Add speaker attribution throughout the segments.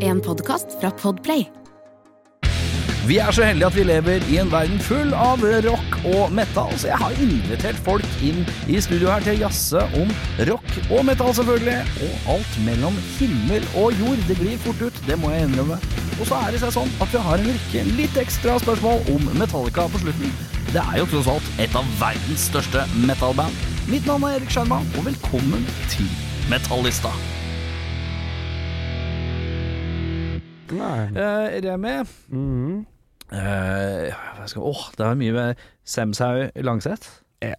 Speaker 1: En podkast fra Podplay.
Speaker 2: Vi er så heldige at vi lever i en verden full av rock og metal, så jeg har invitert folk inn i studio her til å jazze om rock og metal, selvfølgelig. Og alt mellom himmel og jord. Det glir fort ut, det må jeg innrømme. Og så er det seg sånn at vi har en rekke litt ekstra spørsmål om Metallica på slutten. Det er jo tross alt et av verdens største metalband. Mitt navn er Erik Skjerma, og velkommen til Metallista.
Speaker 3: Nei.
Speaker 2: Eh, Remi,
Speaker 3: Mhm.
Speaker 2: Eh, hva skal, åh, det er mye med Semshaug Langseth.
Speaker 3: Ja.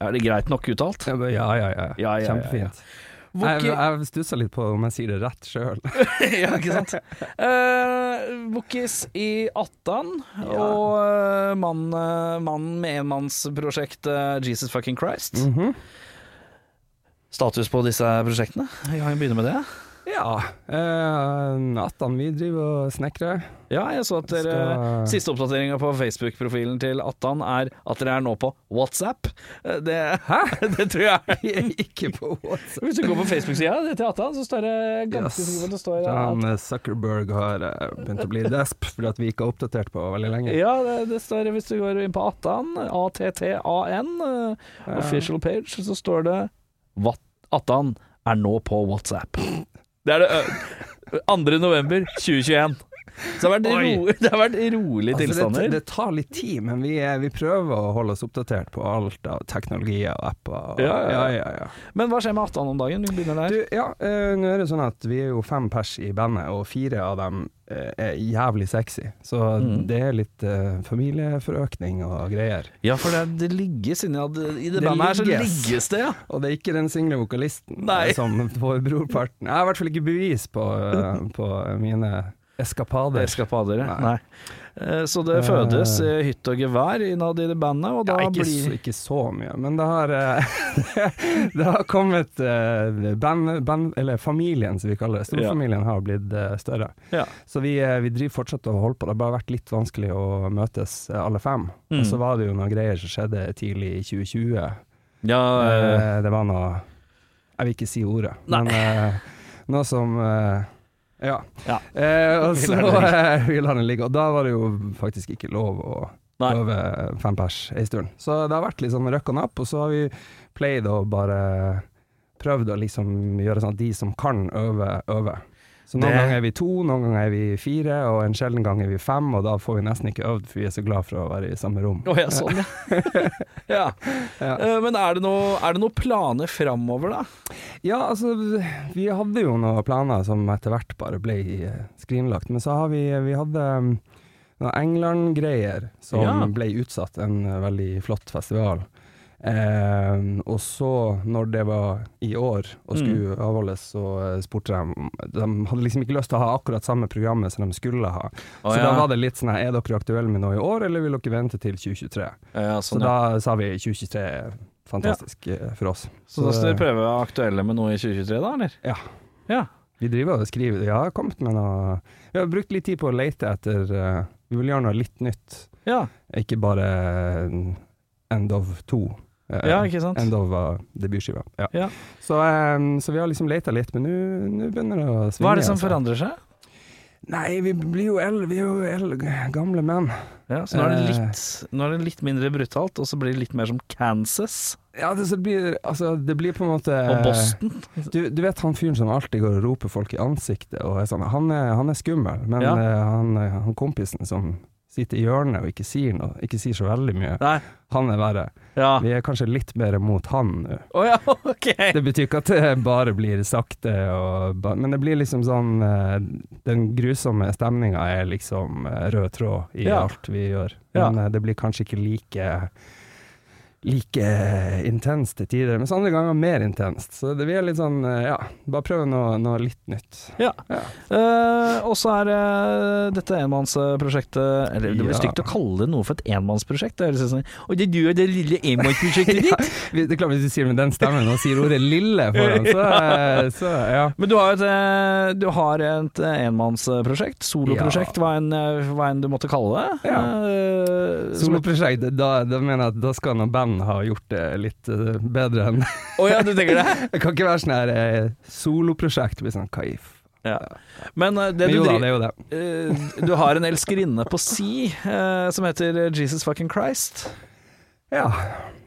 Speaker 2: Er det greit nok uttalt?
Speaker 3: Ja, ja, ja. ja.
Speaker 2: Ja, ja, ja.
Speaker 3: Kjempefint.
Speaker 2: Våke-
Speaker 3: Jeg, jeg stusser litt på om jeg sier det rett sjøl.
Speaker 2: ja, ikke sant? Eh, Wokis i Attan og eh, mannen eh, mannen med enmannsprosjekt eh, Jesus Fucking Christ. Mhm. Status på disse prosjektene? Ja, jeg begynner med det.
Speaker 3: Ja. Eh, Nattan, vi driver og snekrer.
Speaker 2: Ja, jeg så at dere
Speaker 3: Skal-
Speaker 2: Siste oppdateringa på Facebook-profilen til Attan er at dere er nå på WhatsApp. Eh, Det, Hæ? det tror jeg
Speaker 3: Vi er ikke på WhatsApp.
Speaker 2: Hvis du går på Facebook-sida til Attan, så står det ganske
Speaker 3: Yes.
Speaker 2: sikkert det står at
Speaker 3: Han eh, Zuckerberg har eh, begynt å bli desp fordi at vi ikke har oppdatert på veldig lenge.
Speaker 2: Ja, det, det står hvis du går inn på Attan, A-T-T-A-N, eh, official page, så står det What, Attan er nå på WhatsApp. Det er det ø, 2. november 2021. Så det har vært,
Speaker 3: Oi.
Speaker 2: ro, det har vært rolige
Speaker 3: Altså, det,
Speaker 2: tilstander.
Speaker 3: det tar litt tid, men vi, er, vi prøver å holde oss oppdatert på alt av teknologier og apper. Og,
Speaker 2: Ja, ja, ja.
Speaker 3: ja, ja, ja.
Speaker 2: Men hva skjer med Attan om dagen? Vi begynner der.
Speaker 3: Du, ja, eh, nå er det sånn at vi er jo fem pers i bandet, og fire av dem eh, er jævlig sexy. Så
Speaker 2: Mm.
Speaker 3: det er litt eh, familieforøkning og greier.
Speaker 2: ja, for det, det ligges inni at I det,
Speaker 3: Det
Speaker 2: bandet her så
Speaker 3: ligges.
Speaker 2: ligges det, ja.
Speaker 3: Og det er ikke den single vokalisten
Speaker 2: Nei.
Speaker 3: eh, som får brorparten. Jeg har i hvert fall ikke bevis på, eh, på mine
Speaker 2: Dere
Speaker 3: eskapader.
Speaker 2: skal på dere?
Speaker 3: Nei.
Speaker 2: Nei. Eh, Så det fødes eh, hytt og gevær innad i det bandet, og da
Speaker 3: Ja, ikke,
Speaker 2: blir
Speaker 3: så, ikke så mye, men det har, eh, det har kommet eh, band, band, Eller familien, som vi kaller det. Storfamilien har blitt eh, større.
Speaker 2: Ja.
Speaker 3: Så vi, eh, vi driver fortsatt og holder på. Det har bare vært litt vanskelig å møtes eh, alle fem.
Speaker 2: Mm.
Speaker 3: Og så var det jo noen greier som skjedde tidlig i 2020.
Speaker 2: Ja, eh,
Speaker 3: Eh, det var noe Jeg vil ikke si ordet,
Speaker 2: Nei.
Speaker 3: men eh, noe som eh, ja.
Speaker 2: Ja.
Speaker 3: Eh, og
Speaker 2: Vi
Speaker 3: så
Speaker 2: lar det
Speaker 3: eh, vi lar den ligge. Og da var det jo faktisk ikke lov å
Speaker 2: Nei.
Speaker 3: øve fem pers ei stund. Så det har vært litt sånn røkk og napp, og så har vi pleid å bare prøvd å liksom gjøre sånn at de som kan øve, øver. Så noen
Speaker 2: Det-
Speaker 3: ganger er vi to, noen ganger er vi fire, og en sjelden gang er vi fem, og da får vi nesten ikke øvd, for vi er så glad for å være i samme rom.
Speaker 2: Å ja, sånn ja. ja.
Speaker 3: Ja.
Speaker 2: Eh, Men er det noe- er det noen planer framover, da?
Speaker 3: Ja, altså, vi hadde jo noen planer som etter hvert bare ble eh, skrinlagt, men så har vi, vi hadde um, noen England-greier som
Speaker 2: Ja.
Speaker 3: ble utsatt, en eh, veldig flott festival. Eh, og så, når det var i år
Speaker 2: Mm.
Speaker 3: og skulle avholdes, så eh, spurte de om De hadde liksom ikke lyst til å ha akkurat samme programmet som de skulle ha. så
Speaker 2: ja.
Speaker 3: da var det litt sånn her, Er dere aktuelle med noe i år, eller vil dere vente til 2023?
Speaker 2: sånn,
Speaker 3: så da sa vi 2023 er fantastisk eh, for oss.
Speaker 2: Så da skal dere prøve å aktuelle med noe i 2023, da, eller?
Speaker 3: Ja.
Speaker 2: Ja.
Speaker 3: Vi driver og skriver. Jeg har kommet med noe Vi har brukt litt tid på å lete etter eh, Vi vil gjøre noe litt nytt,
Speaker 2: Ja,
Speaker 3: ikke bare eh, End of 2. eh,
Speaker 2: ja ikke sant?
Speaker 3: End of eh, debutskiva. Ja.
Speaker 2: Ja.
Speaker 3: Så, eh, så vi har liksom leta litt, men nå- nå begynner det å svinge.
Speaker 2: Hva er det som
Speaker 3: altså.
Speaker 2: forandrer seg?
Speaker 3: Nei, vi blir jo el, vi er jo el, gamle menn.
Speaker 2: Ja, så nå er, det litt, nå er det litt mindre brutalt, og så blir det litt mer som Kansas
Speaker 3: Ja, det, så det blir altså Det blir på en måte
Speaker 2: og Boston.
Speaker 3: Du, du vet han fyren som alltid går og roper folk i ansiktet og er sånn Han er, han er skummel, men
Speaker 2: Ja.
Speaker 3: eh, han, eh, han kompisen som sitter i hjørnet og ikke sier noe, ikke sier så veldig mye,
Speaker 2: Nei,
Speaker 3: han er verre.
Speaker 2: ja. Å
Speaker 3: Vi er kanskje litt mer mot han nå.
Speaker 2: ja, ok.
Speaker 3: Det betyr ikke at det bare blir sakte, og ba, men det blir liksom sånn eh, Den grusomme stemninga er liksom eh, rød tråd i
Speaker 2: Ja.
Speaker 3: alt vi gjør.
Speaker 2: Ja.
Speaker 3: Men eh, det blir kanskje ikke like Like eh, intenst til tider, mens andre ganger mer intenst. Så det, vi er litt sånn, eh, ja, bare prøve noe, noe litt nytt.
Speaker 2: Ja.
Speaker 3: Ja.
Speaker 2: Eh, og så er eh, dette enmannsprosjektet Eller det blir
Speaker 3: Ja.
Speaker 2: stygt å kalle noe for et enmannsprosjekt. Det høres ut som Og det du og det lille enmannsprosjektet ditt.
Speaker 3: Vi- Det er klart Hvis du sier med den stemmen og sier ordet 'lille' foran, så, eh, så ja.
Speaker 2: Men du har et, eh, du har et eh, enmannsprosjekt, soloprosjekt, hva, enn, eh, hva enn du måtte kalle det.
Speaker 3: Ja.
Speaker 2: Eh, som et-
Speaker 3: Soloprosjekt, da, da mener jeg at da skal noe band ha gjort det litt eh, bedre enn
Speaker 2: Å ja, du tenker det?
Speaker 3: Det kan ikke være sånn her eh, soloprosjekt. Det blir sånn, Hva i f-
Speaker 2: Ja. Men eh, det
Speaker 3: Men
Speaker 2: du
Speaker 3: jo da, det
Speaker 2: driver
Speaker 3: er jo det.
Speaker 2: eh, Du har en elskerinne på si eh, som heter Jesus fucking Christ.
Speaker 3: Ja.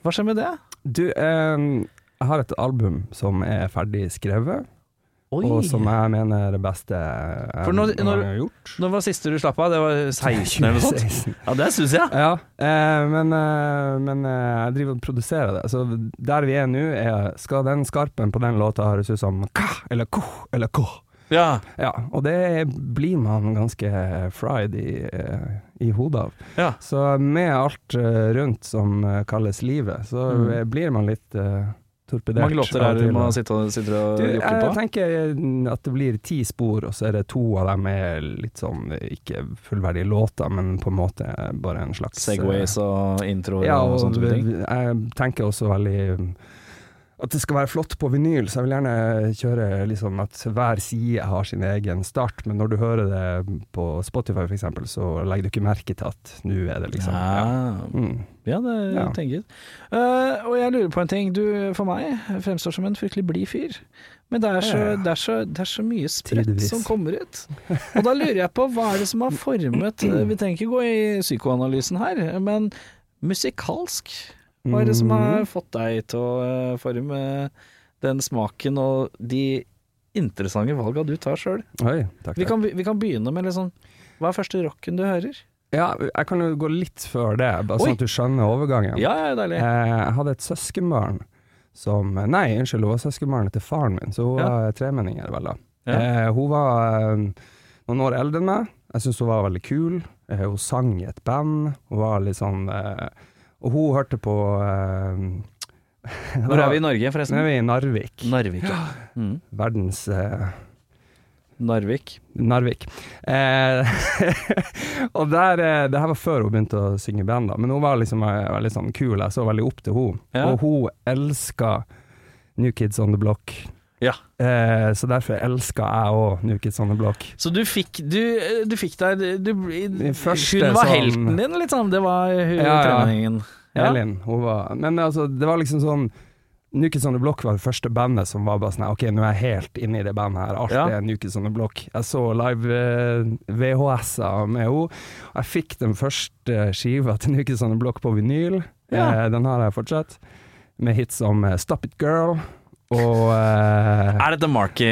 Speaker 2: Hva skjer med det?
Speaker 3: Du, eh, jeg har et album som er ferdig skrevet,
Speaker 2: Oi!
Speaker 3: og som jeg mener er det beste jeg
Speaker 2: For når-
Speaker 3: noen
Speaker 2: når-
Speaker 3: gang har gjort.
Speaker 2: Når var det siste du slapp av? Det var 16 eller noe sånt?
Speaker 3: 2016.
Speaker 2: Ja, det syns jeg.
Speaker 3: Ja, eh, men, eh, men eh, jeg driver og produserer det. Så der vi er nå, er skal den skarpen på den låta høres ut som ka eller ko eller ko.
Speaker 2: Ja.
Speaker 3: Ja, og det blir man ganske fried i, eh, i hodet av.
Speaker 2: ja.
Speaker 3: Så med alt eh, rundt som eh, kalles livet, så
Speaker 2: Mm.
Speaker 3: eh, blir man litt eh,
Speaker 2: Hvor
Speaker 3: torpedert.
Speaker 2: mange låter
Speaker 3: av
Speaker 2: er det
Speaker 3: og
Speaker 2: du må
Speaker 3: til.
Speaker 2: sitte og, sitter og
Speaker 3: Du,
Speaker 2: jokke
Speaker 3: jeg
Speaker 2: på?
Speaker 3: tenker eh, at det blir ti spor, og så er det to av dem er litt sånn ikke fullverdige låter, men på en måte eh, bare en slags
Speaker 2: Segways og introer
Speaker 3: ja,
Speaker 2: og,
Speaker 3: og
Speaker 2: sånne type ting?
Speaker 3: Jeg tenker også veldig mm, at det skal være flott på vinyl, så jeg vil gjerne kjøre liksom at hver side har sin egen start, men når du hører det på Spotify f.eks., så legger du ikke merke til at nå er det liksom ja.
Speaker 2: Ja.
Speaker 3: Mm.
Speaker 2: Ja, det
Speaker 3: Ja.
Speaker 2: tenker jeg. Eh, og jeg lurer på en ting. Du, for meg, fremstår som en fryktelig blid fyr. Men det er så,
Speaker 3: Ja.
Speaker 2: det er så, det er så mye sprøtt
Speaker 3: Tydeligvis.
Speaker 2: som kommer ut. Og da lurer jeg på, hva er det som har formet eh, Vi trenger ikke gå i psykoanalysen her, men musikalsk? Hva er det som
Speaker 3: Mhm.
Speaker 2: har fått deg til å eh, forme den smaken og de interessante valga du tar sjøl?
Speaker 3: Oi, takk.
Speaker 2: Vi,
Speaker 3: takk.
Speaker 2: kan be- vi kan begynne med liksom Hva er første rocken du hører?
Speaker 3: Ja, jeg kan jo gå litt før det, bare
Speaker 2: Oi.
Speaker 3: sånn at du skjønner overgangen.
Speaker 2: Ja, ja, deilig.
Speaker 3: Eh, Jeg hadde et søskenbarn som Nei, unnskyld, hun var søskenbarnet til faren min, så hun
Speaker 2: Ja.
Speaker 3: var tremenninger, vel da.
Speaker 2: Ja.
Speaker 3: Eh, hun var eh, noen år eldre enn meg. Jeg syns hun var veldig kul. Eh, hun sang i et band. Hun var litt sånn eh, Og hun hørte på eh,
Speaker 2: Hvor er vi i Norge,
Speaker 3: Nå er
Speaker 2: forresten?
Speaker 3: vi i Narvik.
Speaker 2: Narvik, ja. Mm.
Speaker 3: Verdens eh,
Speaker 2: Narvik.
Speaker 3: Narvik. Eh, og der, eh, det her var før hun begynte å synge i band, da. men hun var liksom eh, veldig sånn kul. Jeg så veldig opp til hun
Speaker 2: Ja.
Speaker 3: Og hun elska New Kids On The Block.
Speaker 2: Ja.
Speaker 3: Eh, så derfor elska jeg òg New Kids On The Block.
Speaker 2: Så du fikk Du, du fikk deg du,
Speaker 3: Den første
Speaker 2: Hun var
Speaker 3: som-
Speaker 2: helten din, liksom. Det var hun
Speaker 3: Ja, ja.
Speaker 2: treningen. Ja.
Speaker 3: Elin, hun var Men altså, det var liksom sånn New Kids On The Block var det første bandet som var bare sånn Ok, nå er jeg helt inne i det bandet her. Alt
Speaker 2: Ja.
Speaker 3: er New Kids On The Block. Jeg så live eh, VHS-er med henne. Jeg fikk den første skiva til New Kids On The Block på vinyl.
Speaker 2: Ja.
Speaker 3: Eh, den har jeg fortsatt. Med hits som eh, Stop It Girl og eh,
Speaker 2: Er dette eh, Marky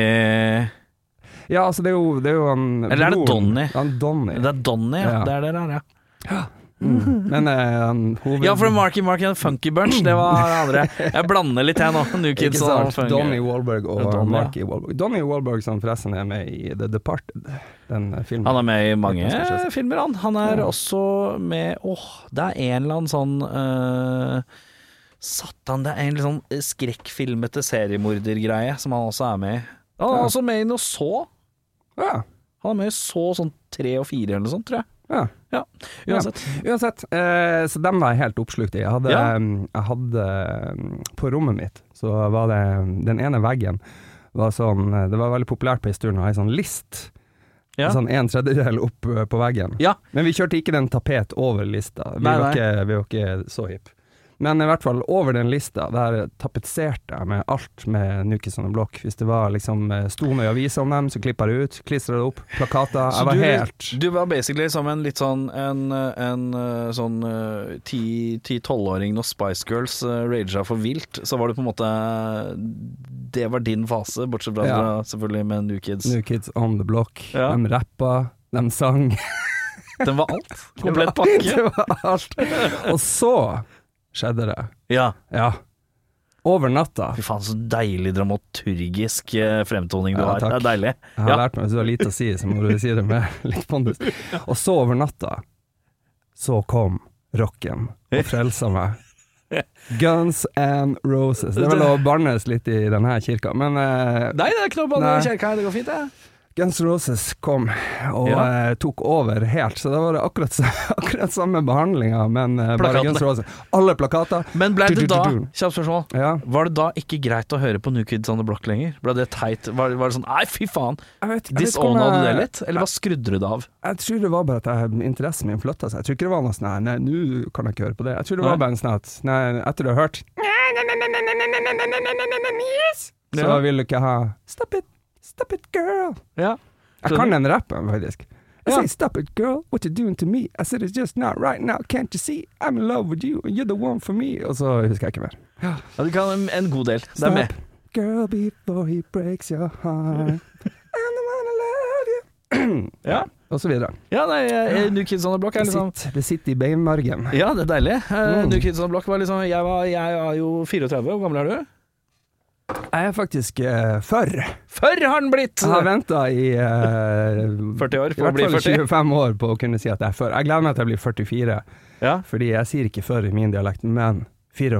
Speaker 3: Ja, altså, det er jo, det er jo han
Speaker 2: Eller er det
Speaker 3: broren.
Speaker 2: Donny?
Speaker 3: Han Donny.
Speaker 2: Det er Donny, ja.
Speaker 3: Ja.
Speaker 2: Det er det der, ja.
Speaker 3: Mm. Men eh, han hoved...
Speaker 2: Ja, for Marky Marky and Funky Bunch, det var det andre. Jeg blander litt, jeg nå. New
Speaker 3: Ikke
Speaker 2: Kids og
Speaker 3: sant.
Speaker 2: Funky.
Speaker 3: Donny Wahlberg og
Speaker 2: Ja, Donny, ja.
Speaker 3: Marky Wahlberg. Donny Wahlberg som forresten er med i The Departed, den filmen.
Speaker 2: Han er med i mange
Speaker 3: Litt ganske kjent.
Speaker 2: filmer, han. Han er
Speaker 3: Ja.
Speaker 2: også med Åh, det er en eller annen sånn øh, Satan, det er en litt sånn skrekkfilmete seriemordergreie som han også er med i. Han er
Speaker 3: Ja.
Speaker 2: også med i noe så.
Speaker 3: Ja,
Speaker 2: Han er med i så sånn tre og fire eller noe sånt, tror jeg.
Speaker 3: ja.
Speaker 2: Ja,
Speaker 3: Ja.
Speaker 2: uansett.
Speaker 3: Uansett, eh, så dem var jeg helt oppslukt i. Jeg hadde,
Speaker 2: Ja.
Speaker 3: em, jeg hadde em, På rommet mitt så var det em, Den ene veggen var sånn eh, Det var veldig populært på en stund å ha ei sånn list.
Speaker 2: Ja.
Speaker 3: Sånn en tredjedel opp eh, på veggen.
Speaker 2: Ja.
Speaker 3: Men vi kjørte ikke den tapet over lista. Vi,
Speaker 2: Nei, nei.
Speaker 3: Var ikke, vi var ikke så hipp. Men i hvert fall over den lista, der tapetserte jeg med alt med Nukis on the Block. Hvis det var liksom eh, sto med i avisa om dem, så klippa jeg det ut, klistra det opp, plakater.
Speaker 2: Så
Speaker 3: Jeg var
Speaker 2: du,
Speaker 3: helt
Speaker 2: du var basically som en litt sånn En, en øh, sånn øh, ti- ti-tolvåring når Spice Girls øh, raga for vilt, så var det på en måte Det var din fase, bortsett fra
Speaker 3: Ja.
Speaker 2: selvfølgelig med New Kids.
Speaker 3: New Kids on the Block.
Speaker 2: Ja.
Speaker 3: De rappa, de sang.
Speaker 2: Den var alt.
Speaker 3: Det
Speaker 2: Komplett
Speaker 3: var-
Speaker 2: pakke.
Speaker 3: Det var alt. Og så skjedde det.
Speaker 2: Ja.
Speaker 3: Ja. Over natta.
Speaker 2: Fy faen, så deilig dramaturgisk eh, fremtoning du
Speaker 3: Ja,
Speaker 2: har.
Speaker 3: takk.
Speaker 2: Det er deilig.
Speaker 3: Jeg har
Speaker 2: Ja.
Speaker 3: lært meg hvis du har lite å si, så må du si det med litt pondus. Og så over natta, så kom rocken og frelsa meg. Guns and Roses. Det er vel å bannes litt i denne kirka, men eh,
Speaker 2: Nei, det er ikke noe banne
Speaker 3: Nei.
Speaker 2: i kjerka her, det går fint, det.
Speaker 3: Guns N' Roses kom og
Speaker 2: Ja.
Speaker 3: eh, tok over helt, så da var det akkurat, sa- akkurat samme behandlinga, men eh, bare
Speaker 2: Plakatene.
Speaker 3: Guns N' Roses. Alle plakater.
Speaker 2: Men ble det da,
Speaker 3: Du-du-du-du.
Speaker 2: kjapt spørsmål,
Speaker 3: Ja.
Speaker 2: var det da ikke greit å høre på New Kids on the Block lenger? Ble det teit? Var, var det sånn nei, fy faen,
Speaker 3: Jeg vet, jeg vet ikke om
Speaker 2: disowna du det
Speaker 3: jeg-
Speaker 2: litt? Eller hva skrudde du det av?
Speaker 3: Jeg tror det var bare at jeg, interessen min flytta seg. Jeg tror ikke det var noe sånn her Nei, nå kan jeg ikke høre på det. Jeg tror det var
Speaker 2: Nei.
Speaker 3: bare en sånn at Nei, etter du har hørt Så
Speaker 2: Ja.
Speaker 3: vil du ikke ha Stop it, Stop it, girl.
Speaker 2: Ja.
Speaker 3: Jeg kan den rappen, faktisk. I
Speaker 2: Ja.
Speaker 3: say, stop it, girl. What you doing to me? I said it's just not right now. Can't you see? I'm in love with you, and you're the one for me. Og så husker jeg ikke mer.
Speaker 2: ja, du kan en- en god del. Det er med.
Speaker 3: girl, before he breaks your heart. I'm the one who love you.
Speaker 2: Ja,
Speaker 3: Og så videre.
Speaker 2: ja nei, eh, New Kids on the Block er
Speaker 3: Det
Speaker 2: liksom
Speaker 3: sitter, det sitter i beinmargen.
Speaker 2: Ja, det er deilig. Eh,
Speaker 3: Mm.
Speaker 2: New Kids on the Block var liksom Jeg, var, jeg er jo 34, hvor gammel er du?
Speaker 3: Jeg er faktisk uh, for.
Speaker 2: Før har den blitt!
Speaker 3: Jeg har venta i eh,
Speaker 2: 40 år
Speaker 3: i
Speaker 2: for å
Speaker 3: hvert
Speaker 2: bli
Speaker 3: fall
Speaker 2: 40.
Speaker 3: 25 år på å kunne si at jeg er for. Jeg gleder meg til jeg blir 44,
Speaker 2: Ja,
Speaker 3: fordi jeg sier ikke for i min dialekt, men 44 er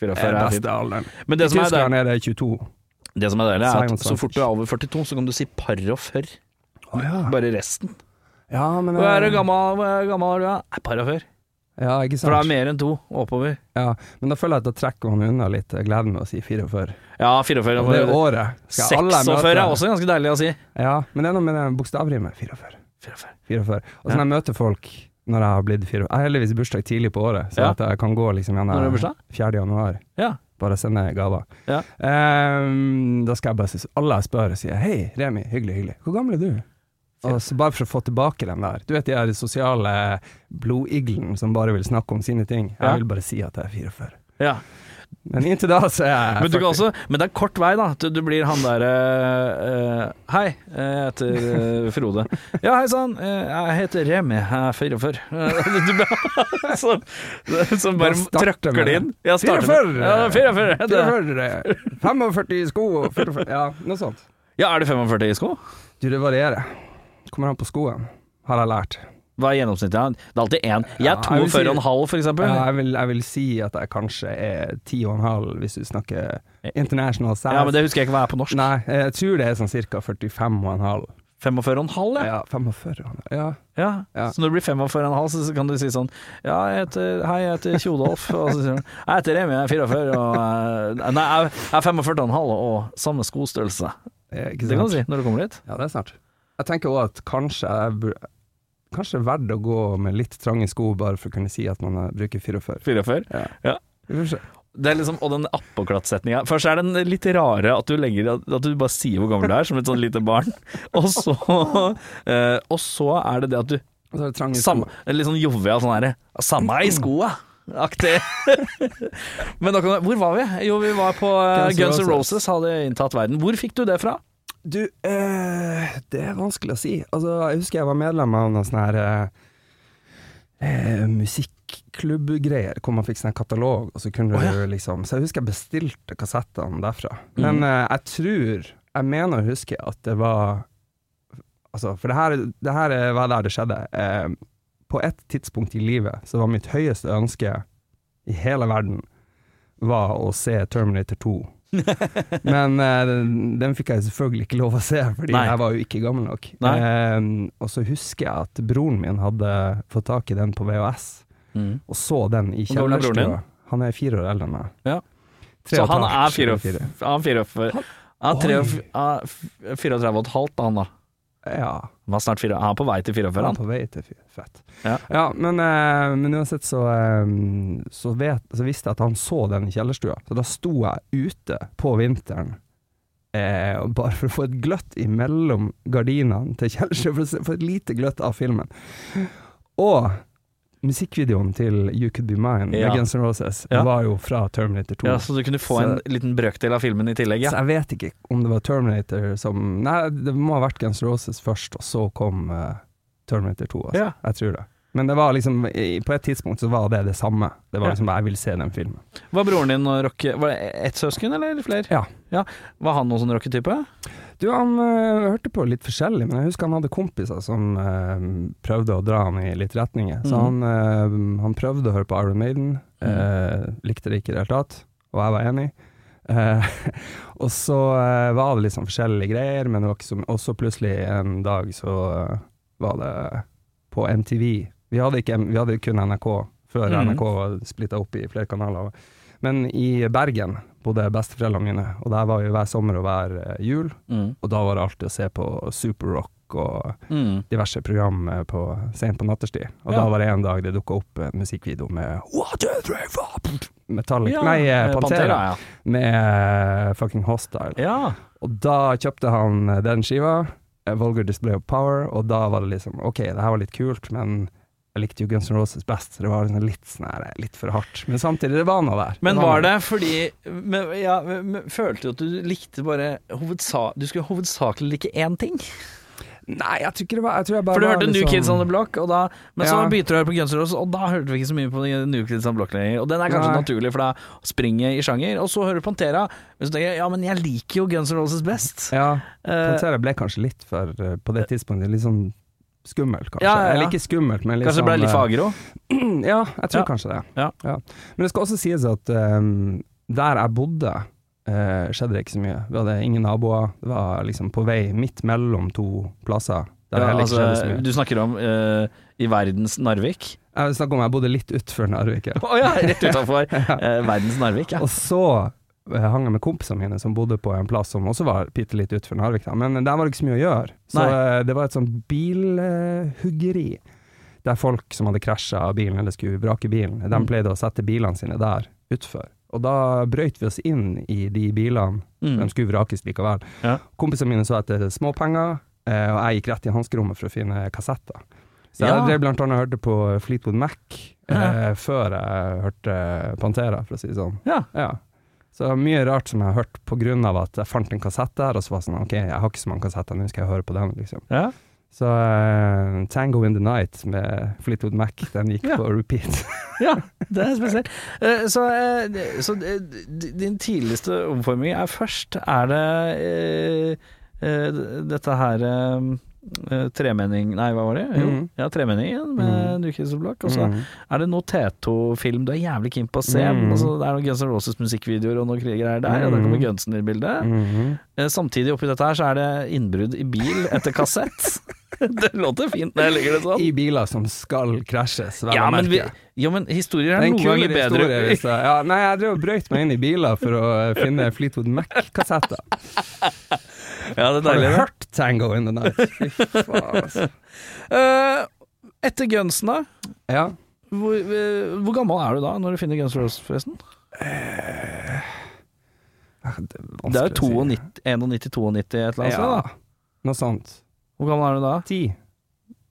Speaker 2: 44 er fint.
Speaker 3: beste alderen.
Speaker 2: Men
Speaker 3: I
Speaker 2: det som er
Speaker 3: Tyskland
Speaker 2: deilig,
Speaker 3: er det 22.
Speaker 2: det som er deilig er at
Speaker 3: Science
Speaker 2: så fort du er over 42, så kan du si par og før.
Speaker 3: Å ja.
Speaker 2: Bare resten.
Speaker 3: ja, men eh,
Speaker 2: Hvor er du gammel, hvor er du gammel er du? Nei, par og før.
Speaker 3: Ja, ikke
Speaker 2: For det er
Speaker 3: sant.
Speaker 2: mer enn to oppover.
Speaker 3: Ja, men da føler jeg at da trekker man unna litt gleden med å si 44.
Speaker 2: Ja, 44.
Speaker 3: Og det
Speaker 2: oppover.
Speaker 3: året skal alle
Speaker 2: 46
Speaker 3: møte
Speaker 2: er også ganske deilig å si.
Speaker 3: Ja, men det er noe med den bokstavrimet. 44.
Speaker 2: 44.
Speaker 3: 44. Og så når jeg møter folk når jeg har blitt 44 Jeg har heldigvis bursdag tidlig på året, så
Speaker 2: Ja.
Speaker 3: at jeg kan gå liksom gjerne
Speaker 2: Når er det bursdag?
Speaker 3: 4. januar.
Speaker 2: Ja.
Speaker 3: Bare sende gaver.
Speaker 2: Ja.
Speaker 3: Ehm, da skal jeg bare si Alle jeg spør, sier 'Hei, Remi. Hyggelig, hyggelig. Hvor gammel er du?' Og så bare for å få tilbake den der. Du vet de her sosiale blodiglene som bare vil snakke om sine ting. Jeg
Speaker 2: Ja.
Speaker 3: vil bare si at jeg er 44.
Speaker 2: ja.
Speaker 3: Men inntil da så er jeg
Speaker 2: Men, du kan
Speaker 3: 40.
Speaker 2: også, men det er kort vei, da. til Du blir han derre Hei, jeg heter eh, Frode. Ja, hei sann, eh, jeg heter Remi, jeg er 44. Eh, Du blir- som, som bare
Speaker 3: Da starter
Speaker 2: trøkker
Speaker 3: med
Speaker 2: det
Speaker 3: det.
Speaker 2: inn. Ja, starter med-
Speaker 3: 44.
Speaker 2: Ja, 44. Det-
Speaker 3: 44. 45 i sko og 44 Ja, noe sånt.
Speaker 2: Ja, er det 45 i sko?
Speaker 3: Du, det varierer. Kommer an på skoen, har jeg lært.
Speaker 2: Hva er gjennomsnittet? Ja, Det er alltid én. Jeg
Speaker 3: Ja,
Speaker 2: er
Speaker 3: jeg vil si-
Speaker 2: 42,5 for eksempel.
Speaker 3: Ja, jeg, vil, jeg vil si at jeg kanskje er ti og en halv, hvis du snakker international size.
Speaker 2: Ja, men det husker jeg ikke hva er på norsk.
Speaker 3: Nei, jeg tror det er sånn ca. 45 og en halv.
Speaker 2: 45,5, ja.
Speaker 3: Ja, 45 og en halv. Ja.
Speaker 2: Ja.
Speaker 3: Ja.
Speaker 2: Så når du blir 45,5, så så kan du si sånn Ja, jeg heter, hei, jeg heter Tjodolf. Og så sier han Jeg heter Remi, jeg er 44, og eh, Nei, jeg jeg er 45,5 og samme skostørrelse.
Speaker 3: Eh, Ikke sant?
Speaker 2: Det kan du si når du kommer dit.
Speaker 3: Ja, det er snart. Jeg tenker òg at kanskje jeg bur Kanskje det er verdt å gå med litt trange sko bare for å kunne si at man eh, bruker 44.
Speaker 2: 44.
Speaker 3: Ja.
Speaker 2: Ja.
Speaker 3: Vi får se.
Speaker 2: Det er liksom, og den appåklattsetninga. Først er den litt rare at du legger At du bare sier hvor gammel du er, som et sånn lite barn. Og så, eh, og så er det det at du
Speaker 3: Og så er det trange sko.
Speaker 2: Samme, det er litt sånn jovial sånn herre Samme i skoa! Aktig. Men da kan, hvor var vi? Jo, vi var på eh,
Speaker 3: Guns N'
Speaker 2: Guns N' Roses
Speaker 3: Roses.
Speaker 2: hadde inntatt verden. Hvor fikk du det fra?
Speaker 3: Du, eh, det er vanskelig å si. Altså, jeg husker jeg var medlem av noen sånne her eh, eh, musikklubbgreier, hvor man fikk sånn katalog, og så kunne
Speaker 2: Å, ja. Mm.
Speaker 3: du liksom Så jeg husker jeg bestilte kassettene derfra. Men eh, jeg tror Jeg mener å huske at det var Altså, for det her, det her eh, var der det skjedde. Eh, på et tidspunkt i livet så var mitt høyeste ønske i hele verden var å se Terminator 2. Men eh, den, den fikk jeg selvfølgelig ikke lov å se, fordi
Speaker 2: Nei.
Speaker 3: jeg var jo ikke gammel nok.
Speaker 2: Nei.
Speaker 3: Eh, og så husker jeg at broren min hadde fått tak i den på VHS, og så den i
Speaker 2: Hvor gammel er broren din?
Speaker 3: kjellerstua. Han er fire år eldre enn meg.
Speaker 2: Ja.
Speaker 3: Tre
Speaker 2: Så
Speaker 3: og et
Speaker 2: han
Speaker 3: halvt,
Speaker 2: er fire
Speaker 3: fire.
Speaker 2: Han er 34 Han er tre og f- han er f- 34 og et halvt, da, han da.
Speaker 3: Ja.
Speaker 2: Han er snart fire, han er på vei til 44,
Speaker 3: Han
Speaker 2: han.
Speaker 3: er på vei til fy- fett.
Speaker 2: Ja.
Speaker 3: Ja, men, eh, men uansett så, eh, så, vet, så visste jeg at han så den i kjellerstua, så da sto jeg ute på vinteren. Eh, og bare for å få et gløtt imellom gardinene til kjellerstua, for å se- få et lite gløtt av filmen. Og musikkvideoen til You Could Be Mine
Speaker 2: Ja.
Speaker 3: med Guns N' Roses
Speaker 2: Ja.
Speaker 3: var jo fra Terminator 2.
Speaker 2: Ja, så du kunne få en
Speaker 3: Så-
Speaker 2: liten brøkdel av filmen i tillegg, ja.
Speaker 3: Så jeg vet ikke om det var Terminator som Nei, det må ha vært Guns N' Roses først, og så kom eh, Terminator 2. Altså.
Speaker 2: Ja.
Speaker 3: Jeg tror det. Men det var liksom, i- på et tidspunkt så var det det samme. Det var
Speaker 2: Ja.
Speaker 3: liksom, jeg vil se den filmen.
Speaker 2: Var broren din og rocke Var det ett søsken, eller flere?
Speaker 3: Ja.
Speaker 2: Var han noen sånn rocketype?
Speaker 3: Du, han eh, hørte på litt forskjellig, men jeg husker han hadde kompiser som eh, prøvde å dra han i litt retninger. Så han,
Speaker 2: Mhm.
Speaker 3: eh, han prøvde å høre på Iron Maiden, eh, likte det ikke i det hele tatt, og jeg var enig. Eh, og så eh, var det litt sånn forskjellige greier, men det var ikke så Og så plutselig en dag så eh, var det på MTV. Vi hadde, ikke, vi hadde kun NRK før
Speaker 2: Mhm.
Speaker 3: NRK var splitta opp i flere kanaler. Men i Bergen bodde besteforeldrene mine, og der var vi hver sommer og hver eh, jul.
Speaker 2: Mm.
Speaker 3: Og da var det alltid å se på Superrock og
Speaker 2: Mm.
Speaker 3: diverse program eh, på, sent på nattestid. Og
Speaker 2: Ja.
Speaker 3: da var det en dag det dukka opp en musikkvideo med What do you think of- Metallic,
Speaker 2: Ja,
Speaker 3: nei, eh,
Speaker 2: eh,
Speaker 3: Pantera,
Speaker 2: ja.
Speaker 3: med eh, fucking Hostile.
Speaker 2: ja.
Speaker 3: Og da kjøpte han eh, den skiva, eh, Vulgar Display of Power, og da var det liksom OK, det her var litt kult, men jeg likte jo Guns N' Roses best, så det var liksom litt, sånn her, eh, litt for hardt. Men samtidig, det var noe der.
Speaker 2: Men
Speaker 3: noe
Speaker 2: var
Speaker 3: der.
Speaker 2: det fordi men, ja, men, Følte du at du likte bare hovedsa, Du skulle hovedsakelig like én ting?
Speaker 3: Nei, jeg tror ikke det var jeg tror jeg bare
Speaker 2: For du
Speaker 3: var
Speaker 2: hørte New
Speaker 3: liksom-
Speaker 2: Kids on the Block, og da, men så
Speaker 3: Ja.
Speaker 2: begynte du å høre på Guns N' Roses, og da hørte vi ikke så mye på New Kids on the Block lenger. Og den er kanskje
Speaker 3: Nei.
Speaker 2: naturlig, for da springer i sjanger. Og så hører du Pantera, men så tenker jeg ja, men jeg liker jo Guns N' Roses best.
Speaker 3: Ja,
Speaker 2: Eh,
Speaker 3: Pantera ble kanskje litt for eh, På det tidspunktet litt sånn skummelt, kanskje.
Speaker 2: Ja, ja, ja.
Speaker 3: Eller ikke skummelt, men litt
Speaker 2: kanskje det ble
Speaker 3: sånn,
Speaker 2: litt
Speaker 3: eh,
Speaker 2: for agro?
Speaker 3: Ja, jeg
Speaker 2: Ja.
Speaker 3: tror kanskje det.
Speaker 2: Ja.
Speaker 3: Men det skal også sies at ehm, der jeg bodde, eh, skjedde det ikke så mye. Vi hadde ingen naboer. Det var liksom på vei midt mellom to plasser. Der det
Speaker 2: Ja,
Speaker 3: heller ikke skjedde så
Speaker 2: altså,
Speaker 3: mye.
Speaker 2: du snakker om eh, i verdens Narvik?
Speaker 3: Jeg snakker om jeg bodde litt utfor Narvik. ja.
Speaker 2: Å ja, rett utafor verdens Narvik, ja.
Speaker 3: Og så eh, hang jeg med kompisene mine som bodde på en plass som også var bitte litt utenfor Narvik, da. men der var det ikke så mye å gjøre. Så eh, det var et sånn bilhuggeri. Der folk som hadde krasja av bilen, eller skulle vrake bilen, de
Speaker 2: Mm.
Speaker 3: pleide å sette bilene sine der utfor. Og da brøyt vi oss inn i de bilene, de
Speaker 2: Mm.
Speaker 3: skulle vrakes likevel.
Speaker 2: Ja.
Speaker 3: Kompisene mine så etter småpenger, eh, og jeg gikk rett i hanskerommet for å finne kassetter. Så jeg
Speaker 2: Ja.
Speaker 3: drev blant annet og hørte på Fleetwood Mac eh, før jeg hørte Pantera, for å si det sånn.
Speaker 2: ja.
Speaker 3: Ja. Så mye rart som jeg har hørt på grunn av at jeg fant en kassett der, og så var det sånn OK, jeg har ikke så mange kassetter, nå skal jeg høre på den, liksom.
Speaker 2: ja.
Speaker 3: Så eh, Tango in the Night med Fleetwood Mac, den gikk
Speaker 2: Ja.
Speaker 3: på repeat.
Speaker 2: Ja, det er spesielt. Eh, Så, eh, det- så eh, d- din tidligste omforming er først Er det eh, eh, d- dette her eh, eh, Tremenning Nei, hva var det? Jo,
Speaker 3: Mhm.
Speaker 2: ja, Tremenningen med
Speaker 3: Mhm.
Speaker 2: New Kids on the Block. Og så
Speaker 3: Mm.
Speaker 2: er det noe Teto-film du er jævlig keen på å se.
Speaker 3: Mhm.
Speaker 2: Og så det er noen Guns N' Roses musikkvideoer og noen greier der, og der kommer
Speaker 3: Mhm.
Speaker 2: Gunsen i bildet.
Speaker 3: Mhm.
Speaker 2: Eh, Samtidig oppi dette her så er det innbrudd i bil etter kassett. det låter fint når jeg legger det sånn.
Speaker 3: I biler som skal krasjes, vel
Speaker 2: Ja
Speaker 3: å
Speaker 2: men, vi,
Speaker 3: merke.
Speaker 2: ja, men historier er
Speaker 3: Det er en
Speaker 2: noen
Speaker 3: kul
Speaker 2: ganger
Speaker 3: historie.
Speaker 2: bedre.
Speaker 3: Hvis jeg, ja, nei, jeg drev og brøyt meg inn i biler for å eh, finne Fleetwood Mac-kassetter.
Speaker 2: Ja, det er
Speaker 3: Har du
Speaker 2: deilig. det.
Speaker 3: hørt Tango in the Night? Fy faen, altså.
Speaker 2: Eh, etter Gunsen, da.
Speaker 3: Ja.
Speaker 2: Hvor, eh, hvor gammel er du da, når du finner Guns N' Roses, forresten? Det er jo 92, 91-92, et eller annet sted.
Speaker 3: Ja,
Speaker 2: altså, da
Speaker 3: noe sånt.
Speaker 2: Hvor gammel er du da?
Speaker 3: Ti.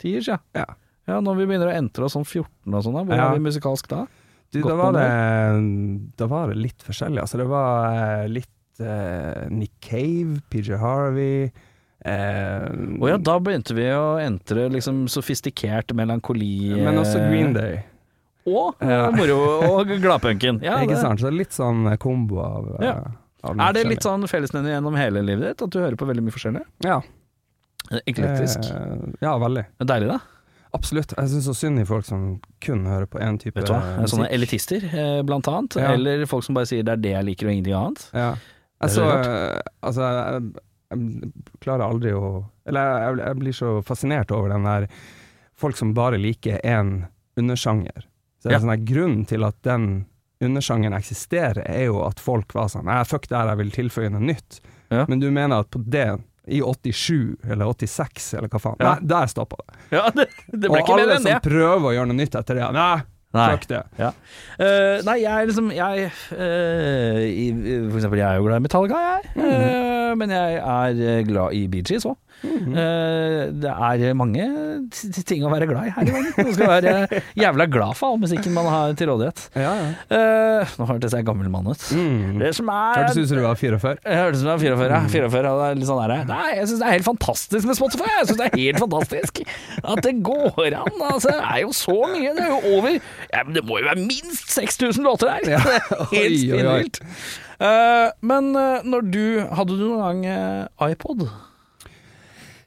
Speaker 2: Tiers, ja.
Speaker 3: Ja.
Speaker 2: ja. Når vi begynner å entre oss sånn 14 og sånn, da, hvor
Speaker 3: Ja.
Speaker 2: er vi musikalsk da?
Speaker 3: Du,
Speaker 2: Godt
Speaker 3: da var,
Speaker 2: på
Speaker 3: det, da var det litt forskjellig. Altså, det var eh, litt eh, Nick Cave, PJ Harvey eh,
Speaker 2: Å ja, da begynte vi å entre liksom sofistikert melankoli eh,
Speaker 3: Men også Green Day.
Speaker 2: Og,
Speaker 3: Ja.
Speaker 2: og moro og gladpunken. Ja,
Speaker 3: ikke
Speaker 2: det-
Speaker 3: sant? Så litt sånn kombo av, eh,
Speaker 2: Ja.
Speaker 3: av
Speaker 2: Er det litt sånn fellesnevner gjennom hele livet ditt? At du hører på veldig mye forskjellig?
Speaker 3: Ja.
Speaker 2: Eklektisk.
Speaker 3: eh, ja, veldig.
Speaker 2: Deilig, da.
Speaker 3: Absolutt. Jeg syns så synd i folk som kun hører på én type
Speaker 2: Vet du hva?
Speaker 3: eh,
Speaker 2: Det er Sånne
Speaker 3: musikk.
Speaker 2: elitister, eh, blant annet.
Speaker 3: Ja.
Speaker 2: Eller folk som bare sier 'det er det jeg liker, og ingenting annet'.
Speaker 3: Ja. Jeg
Speaker 2: Det er
Speaker 3: så eh, Altså, jeg, jeg klarer aldri å Eller jeg, jeg, jeg blir så fascinert over den der folk som bare liker én undersjanger. Så det
Speaker 2: Ja.
Speaker 3: er sånn der Grunnen til at den undersjangeren eksisterer, er jo at folk var sånn Nei, fuck det her, jeg vil tilføye noe nytt.
Speaker 2: Ja.
Speaker 3: Men du mener at på det, i 87 eller 86 eller hva faen
Speaker 2: Ja.
Speaker 3: Nei, der stoppa det.
Speaker 2: Ja, det, det ble
Speaker 3: Og
Speaker 2: ikke mer
Speaker 3: alle
Speaker 2: enn
Speaker 3: som
Speaker 2: det.
Speaker 3: prøver å gjøre noe nytt etter det, nei,
Speaker 2: Nei.
Speaker 3: fuck det.
Speaker 2: Eh, nei, jeg er liksom Jeg eh, i, For eksempel, jeg er jo glad i Metallica, jeg. Eh, men jeg er eh, glad i Bee Gees òg. det er mange t- t- ting å være glad i her i verden. Man skal være jævla glad for all musikken man har til rådighet.
Speaker 3: Ja, ja.
Speaker 2: Eh, nå hørtes jeg gammel mann ut.
Speaker 3: Mm.
Speaker 2: Det som er
Speaker 3: Hørtes ut som du var 44.
Speaker 2: Jeg hørte som jeg var 44. ja. 44 og det er litt sånn der, Nei, jeg syns det er helt fantastisk med Spotify. Jeg synes det er helt fantastisk At det går an. Altså, det er jo så mye. Det er jo over ja, men Det må jo være minst 6000 låter her!
Speaker 3: Ja.
Speaker 2: Det er
Speaker 3: Oi, oi,
Speaker 2: Helt
Speaker 3: oi.
Speaker 2: spinnvilt. Eh, men eh, når du Hadde du noen gang eh, iPod?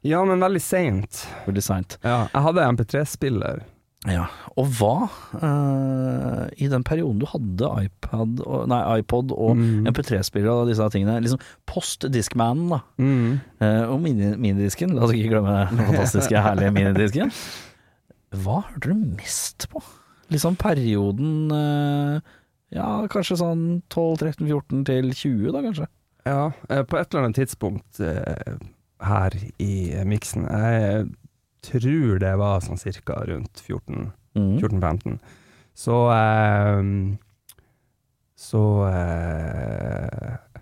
Speaker 3: Ja, men veldig seint.
Speaker 2: Veldig seint.
Speaker 3: Ja, jeg hadde MP3-spiller.
Speaker 2: Ja. Og hva, eh, i den perioden du hadde iPad og, Nei, iPod og
Speaker 3: Mm.
Speaker 2: MP3-spillere og disse tingene, liksom post Discmanen, da.
Speaker 3: Mm.
Speaker 2: Eh, og mini- minidisken, la oss ikke glemme den fantastiske, herlige minidisken. Hva hørte du mest på? Liksom perioden eh, Ja, kanskje sånn 12-13-14 til 20, da kanskje.
Speaker 3: Ja, eh, på et eller annet tidspunkt eh, her i eh, miksen Jeg tror det var sånn cirka rundt 14 14-15. Så eh, Så eh,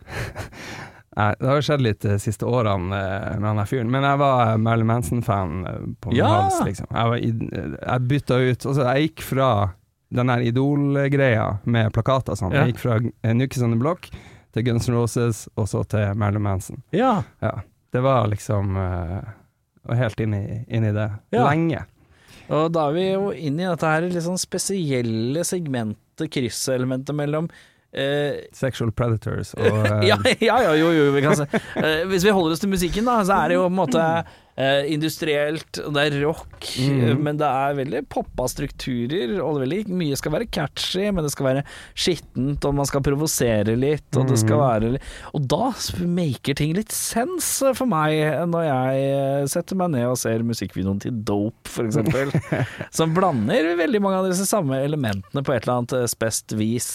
Speaker 3: Nei, det har jo skjedd litt de siste årene eh, med han der fyren, men jeg var eh, Marilyn Manson-fan eh, på
Speaker 2: Ja!
Speaker 3: hans, liksom. Jeg, var i, jeg bytta ut Altså, jeg gikk fra den der Idol-greia med plakater og sånn.
Speaker 2: Ja.
Speaker 3: Jeg gikk fra eh, Nukes on the Block til Guns N' Roses, og så til Marilyn Manson.
Speaker 2: Ja.
Speaker 3: Ja. Det var liksom eh, Helt inn i, inn i det.
Speaker 2: Ja.
Speaker 3: Lenge.
Speaker 2: Og da er vi jo inn i dette her litt sånn spesielle segmentet, krysselementet mellom eh,
Speaker 3: Sexual Predators og eh,
Speaker 2: ja, ja, ja, jo, jo, vi kan se. Eh, hvis vi holder oss til musikken, da, så er det jo på en måte eh, industrielt, og det er rock,
Speaker 3: Mhm.
Speaker 2: eh, men det er veldig poppa strukturer, og det er veldig, mye skal være catchy, men det skal være skittent, og man skal provosere litt, og det skal være litt Og da maker ting litt sens eh, for meg, eh, når jeg eh, setter meg ned og ser musikkvideoen til Dope, for eksempel, som blander veldig mange av disse samme elementene på et eller annet eh, spest vis.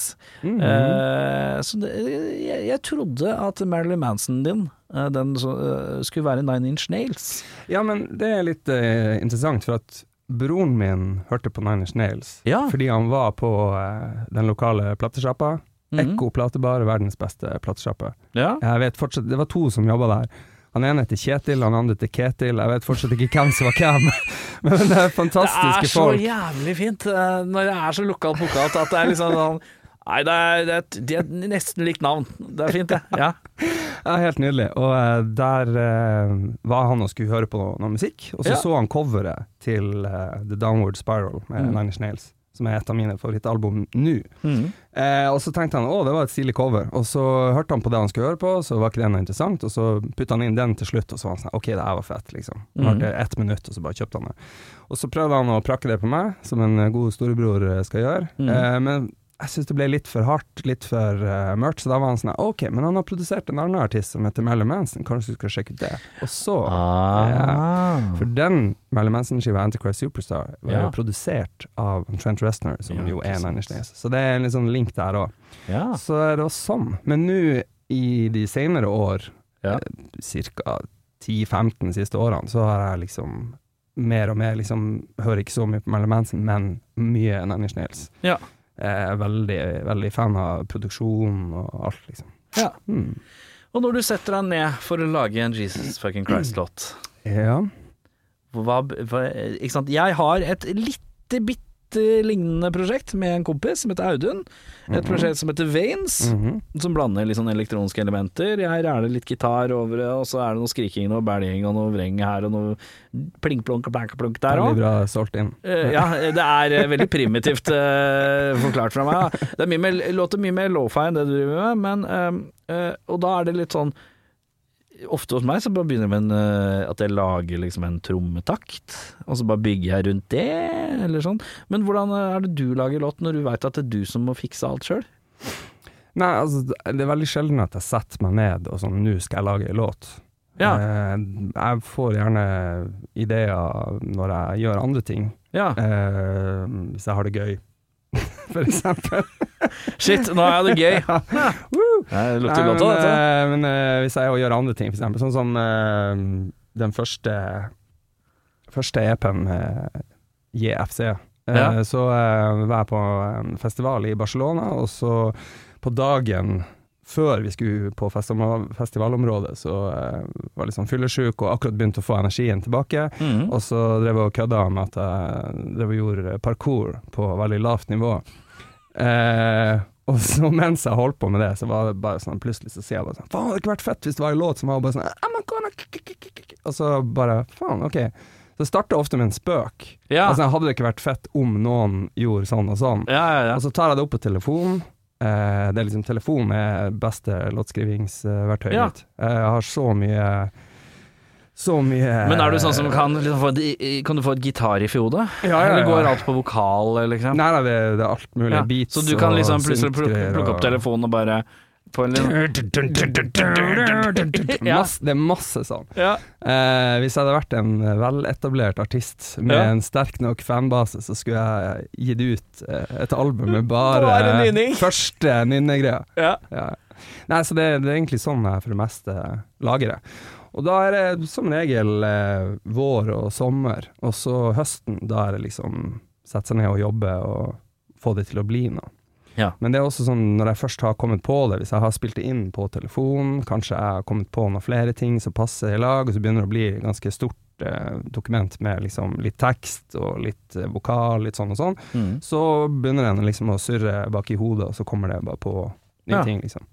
Speaker 2: Eh, så det, jeg, jeg trodde at Marilyn Manson din eh, den så, eh, skulle være Nine Inch Nails.
Speaker 3: Ja, men det er litt eh, interessant, for at broren min hørte på Niners Nails
Speaker 2: Ja.
Speaker 3: fordi han var på eh, den lokale platesjappa.
Speaker 2: Mhm.
Speaker 3: Ekko platebar, verdens beste platesjappe.
Speaker 2: Ja.
Speaker 3: Jeg vet fortsatt, Det var to som jobba der. Han ene heter Kjetil, han andre heter Ketil. Jeg vet fortsatt ikke hvem som var hvem, men det er
Speaker 2: Det er
Speaker 3: fantastiske
Speaker 2: så
Speaker 3: folk.
Speaker 2: jævlig fint eh, når det er så lokalt pokalt at det er liksom sånn Nei, det er, det, er, de er nesten likt navn. Det er fint, det. Ja.
Speaker 3: Ja, helt nydelig. Og eh, der eh, var han og skulle høre på noe, noe musikk, og så
Speaker 2: Ja.
Speaker 3: så han coveret til eh, The Downward Spiral med
Speaker 2: Mm.
Speaker 3: Nine Inch Nails, som er et av mine favorittalbum nå.
Speaker 2: Mhm.
Speaker 3: Eh, og så tenkte han å, det var et stilig cover, og så hørte han på det han skulle høre på, så var ikke det noe interessant, og så putta han inn den til slutt, og så var han sånn ok, det her var fett, liksom.
Speaker 2: Mm.
Speaker 3: Han hørte ett minutt, og så bare kjøpte han det. Og så prøvde han å prakke det på meg, som en eh, god storebror eh, skal gjøre,
Speaker 2: Mm.
Speaker 3: eh, men jeg syns det ble litt for hardt, litt for eh, mørkt, så da var han sånn ok, men han har produsert en annen artist som heter Mellom Manson, kanskje du skal sjekke ut det? Og så Ah. For den Marilyn Manson-skiva, Antichrist Superstar, var
Speaker 2: Ja.
Speaker 3: jo produsert av Trent Reznor, som
Speaker 2: Ja,
Speaker 3: jo
Speaker 2: ikke
Speaker 3: er
Speaker 2: sant.
Speaker 3: Niners Nails. Så det er en litt sånn link der òg.
Speaker 2: Ja.
Speaker 3: Så det var sånn. Men nå i de senere år, eh,
Speaker 2: Ja.
Speaker 3: ca. 10-15 siste årene, så har jeg liksom mer og mer liksom Hører ikke så mye på Marilyn Manson, men mye Niners Nails.
Speaker 2: Ja.
Speaker 3: Jeg er veldig, veldig fan av produksjonen og alt, liksom.
Speaker 2: Ja.
Speaker 3: Hmm.
Speaker 2: Og når du setter deg ned for å lage en Jesus fucking Christ-låt
Speaker 3: Ja.
Speaker 2: Mhm. hva, hva, ikke sant? Jeg har et lite bitte lignende prosjekt med en kompis som heter Audun. Et prosjekt som heter Veins,
Speaker 3: Mhm.
Speaker 2: som blander litt sånn elektroniske elementer. Jeg ræler litt gitar over det, og så er det noe skriking og bælging og noe vreng her og noe plink-plonk og plink-plonk der
Speaker 3: Veldig
Speaker 2: òg.
Speaker 3: bra solgt inn.
Speaker 2: Eh, ja, det er eh, veldig primitivt eh, forklart fra meg. da. Det er mye mer, låter mye mer lo-fi enn det du driver med, men eh, eh, Og da er det litt sånn Ofte hos meg så bare begynner jeg med en, eh, at jeg lager liksom en trommetakt, og så bare bygger jeg rundt det, eller sånn. Men hvordan eh, er det du lager låt når du veit at det er du som må fikse alt sjøl?
Speaker 3: Nei, altså, det er veldig sjelden at jeg setter meg ned og sånn, nå skal jeg lage en låt.
Speaker 2: Ja.
Speaker 3: Eh, jeg får gjerne ideer når jeg gjør andre ting.
Speaker 2: Ja.
Speaker 3: Eh, hvis jeg har det gøy, for eksempel.
Speaker 2: Shit, nå har jeg det gøy.
Speaker 3: Woo!
Speaker 2: Nei, Det
Speaker 3: Nei,
Speaker 2: lukter godt av
Speaker 3: men,
Speaker 2: dette.
Speaker 3: eh, men eh, hvis jeg gjør andre ting, for eksempel, sånn som eh, den første, første EP-en med JFC, eh,
Speaker 2: Ja.
Speaker 3: så eh, var jeg på en festival i Barcelona, og så på dagen før vi skulle på festival- festivalområdet, så eh, var jeg litt sånn fyllesyk og akkurat begynte å få energien tilbake.
Speaker 2: Mhm.
Speaker 3: Og så drev jeg og kødda med at jeg drev og gjorde parkour på veldig lavt nivå. Eh, og så mens jeg holdt på med det, så var det bare sånn plutselig så sier jeg bare sånn Faen, hadde det ikke vært fett hvis det var en låt som var bare sånn I'm a gonna k- k- k- k- k-" Og så bare Faen, OK. Så det starter ofte med en spøk.
Speaker 2: Ja.
Speaker 3: Altså, hadde det ikke vært fett om noen gjorde sånn og sånn?
Speaker 2: Ja, ja, ja.
Speaker 3: Og så tar jeg det opp på telefonen. Eh, det er liksom Telefonen er beste låtskrivingsverktøyet
Speaker 2: Ja.
Speaker 3: mitt. Eh, jeg har så mye Så mye
Speaker 2: Men er du sånn som kan, liksom, få et, kan du få et gitar i hodet?
Speaker 3: Ja, ja,
Speaker 2: Eller
Speaker 3: ja.
Speaker 2: går alt på vokal, liksom?
Speaker 3: Nei, nei det, det er alt mulig.
Speaker 2: Ja,
Speaker 3: Beats
Speaker 2: Så du kan
Speaker 3: og
Speaker 2: liksom plutselig plukke,
Speaker 3: syntgreier
Speaker 2: plukke
Speaker 3: og-
Speaker 2: opp telefonen og bare på en liten Ja.
Speaker 3: Masse, det er masse sånn.
Speaker 2: ja.
Speaker 3: Eh, hvis jeg hadde vært en veletablert artist med
Speaker 2: Ja.
Speaker 3: en sterk nok fanbase, så skulle jeg gitt ut eh, et album med bare,
Speaker 2: Bare nynning.
Speaker 3: første nynnegreia.
Speaker 2: ja.
Speaker 3: Ja. Nei, så det, det er egentlig sånn jeg for det meste lager det. Og da er det som regel eh, vår og sommer, og så høsten. Da er det liksom sette seg ned og jobbe og få det til å bli noe.
Speaker 2: Ja.
Speaker 3: Men det er også sånn når jeg først har kommet på det, hvis jeg har spilt det inn på telefonen, kanskje jeg har kommet på noen flere ting som passer i lag, og så begynner det å bli et ganske stort eh, dokument med liksom litt tekst og litt eh, vokal, litt sånn og sånn.
Speaker 2: Mm.
Speaker 3: Så begynner den liksom å surre bak i hodet, og så kommer det bare på nye
Speaker 2: Ja.
Speaker 3: ting, liksom.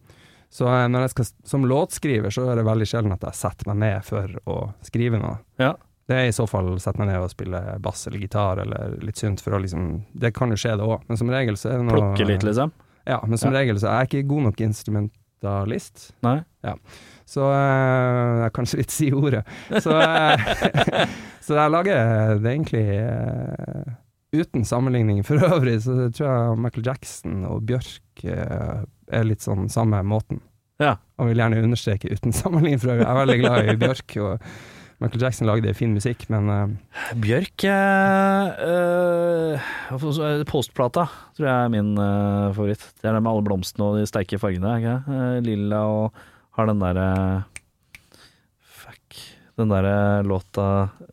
Speaker 3: Så eh, når jeg skal, som låtskriver, så er det veldig sjelden at jeg setter meg ned for å skrive noe.
Speaker 2: Ja.
Speaker 3: Det er i så fall å sette meg ned og spille bass eller gitar eller litt synt, for å liksom Det kan jo skje, det òg, men som regel så er det noe
Speaker 2: Plukke litt, liksom?
Speaker 3: Ja, men som
Speaker 2: Ja.
Speaker 3: regel så er jeg ikke god nok instrumentalist.
Speaker 2: Nei?
Speaker 3: Så eh, jeg kan ikke litt si ordet. Så, eh, så jeg lager det egentlig eh, Uten sammenligning for øvrig, så tror jeg Michael Jackson og Bjørk eh, er litt sånn samme måten.
Speaker 2: Ja.
Speaker 3: Og vil gjerne understreke uten sammenligning for øvrig. Jeg er veldig glad i Bjørk, og Michael Jackson lagde fin musikk, men eh,
Speaker 2: Bjørk eh, eh, Postplata tror jeg er min eh, favoritt. Det er den med alle blomstene og de sterke fargene. er Ikke? det? Eh, lilla og har den derre Fuck. Den derre låta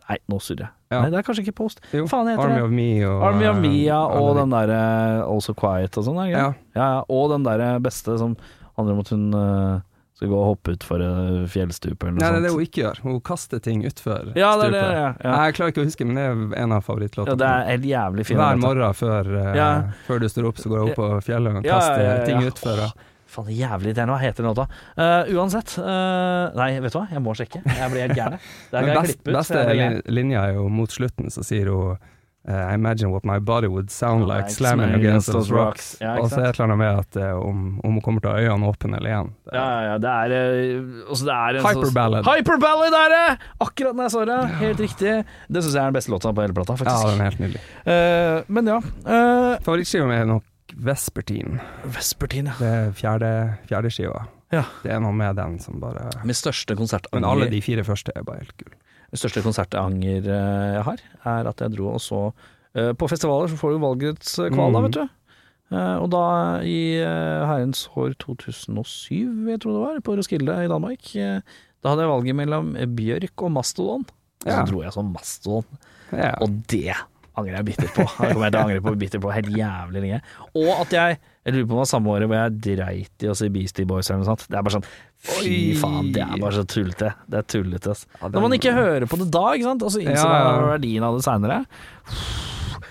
Speaker 2: Nei, nå surrer jeg.
Speaker 3: Ja.
Speaker 2: Nei, det er kanskje ikke Post.
Speaker 3: jo,
Speaker 2: Faen, heter
Speaker 3: Army
Speaker 2: det?
Speaker 3: of Me og
Speaker 2: Army of
Speaker 3: eh,
Speaker 2: Mia og
Speaker 3: alle de-
Speaker 2: den derre Also Quiet og sånn. er det ikke det?
Speaker 3: ja,
Speaker 2: Ja, ja. Og den derre beste som handler om at hun eh, skal gå og hoppe utfor uh, fjellstupet eller noe
Speaker 3: Nei, det er
Speaker 2: sånt.
Speaker 3: det hun ikke gjør. Hun kaster ting utfor
Speaker 2: Sånn. ja, det er det.
Speaker 3: stupet.
Speaker 2: Ja, ja.
Speaker 3: Jeg klarer ikke å huske, men det er en av
Speaker 2: ja,
Speaker 3: favorittlåtene.
Speaker 2: det er helt jævlig fin. altså.
Speaker 3: Hver morgen før, eh,
Speaker 2: Ja.
Speaker 3: før du står opp, så går jeg opp på fjellet og
Speaker 2: Ja, ja,
Speaker 3: kaster
Speaker 2: ja, ja.
Speaker 3: ting utfor. og-
Speaker 2: Faen, det er jævlig irriterende. Hva heter den låta? Eh, uansett eh, Nei, vet du hva? Jeg må sjekke. Jeg blir helt gæren. Det her
Speaker 3: Men
Speaker 2: kan jeg
Speaker 3: best,
Speaker 2: klippe ut. for
Speaker 3: beste
Speaker 2: jeg blir gæren.
Speaker 3: li- linja er jo mot slutten, så sier hun eh, I imagine what my body would sound like slamming against those rocks.
Speaker 2: Ja, ikke
Speaker 3: og så er det et eller annet med at eh, om, om hun kommer til å ha øynene åpne eller igjen. Det-
Speaker 2: Ja, ja, ja, det er, eh, også det er en sånn-
Speaker 3: Hyperballad.
Speaker 2: Hyperballad er det! Akkurat når jeg så det. Helt riktig. Det syns jeg er den beste låta på hele plata,
Speaker 3: Ja,
Speaker 2: faktisk.
Speaker 3: den er helt nydelig.
Speaker 2: Eh, men ja. eh,
Speaker 3: Favorittskiva mi er nok Vespertine.
Speaker 2: Vespertine, ja.
Speaker 3: Det er fjerde, fjerde skiva.
Speaker 2: Ja.
Speaker 3: Det er noe med den som bare
Speaker 2: Min største konsertanger
Speaker 3: Men alle de fire første er bare helt gull.
Speaker 2: Min største konsertanger eh, jeg har, er at jeg dro og så eh, På festivaler så får du valgets eh, kval, da,
Speaker 3: Mhm.
Speaker 2: vet du. Eh, og da i eh, herrens år 2007, jeg tror det var, på Roskilde i Danmark, eh, da hadde jeg valget mellom Bjørk og Mastodon. Og Så
Speaker 3: Ja.
Speaker 2: dro jeg som Mastodon,
Speaker 3: Ja.
Speaker 2: og det angrer jeg bittert på. Det kommer jeg til å angre på bittert på helt jævlig lenge. Og at jeg jeg lurer på om det var samme året hvor jeg dreit i å si Beastie Boys eller noe sånt. Det er bare sånn Fy
Speaker 3: Oi.
Speaker 2: faen, det er bare så tullete. Det er tullete, ass.
Speaker 3: Ja, den-
Speaker 2: Når man ikke hører på det da, ikke sant? og så innser
Speaker 3: Ja, ja.
Speaker 2: man verdien av det seinere.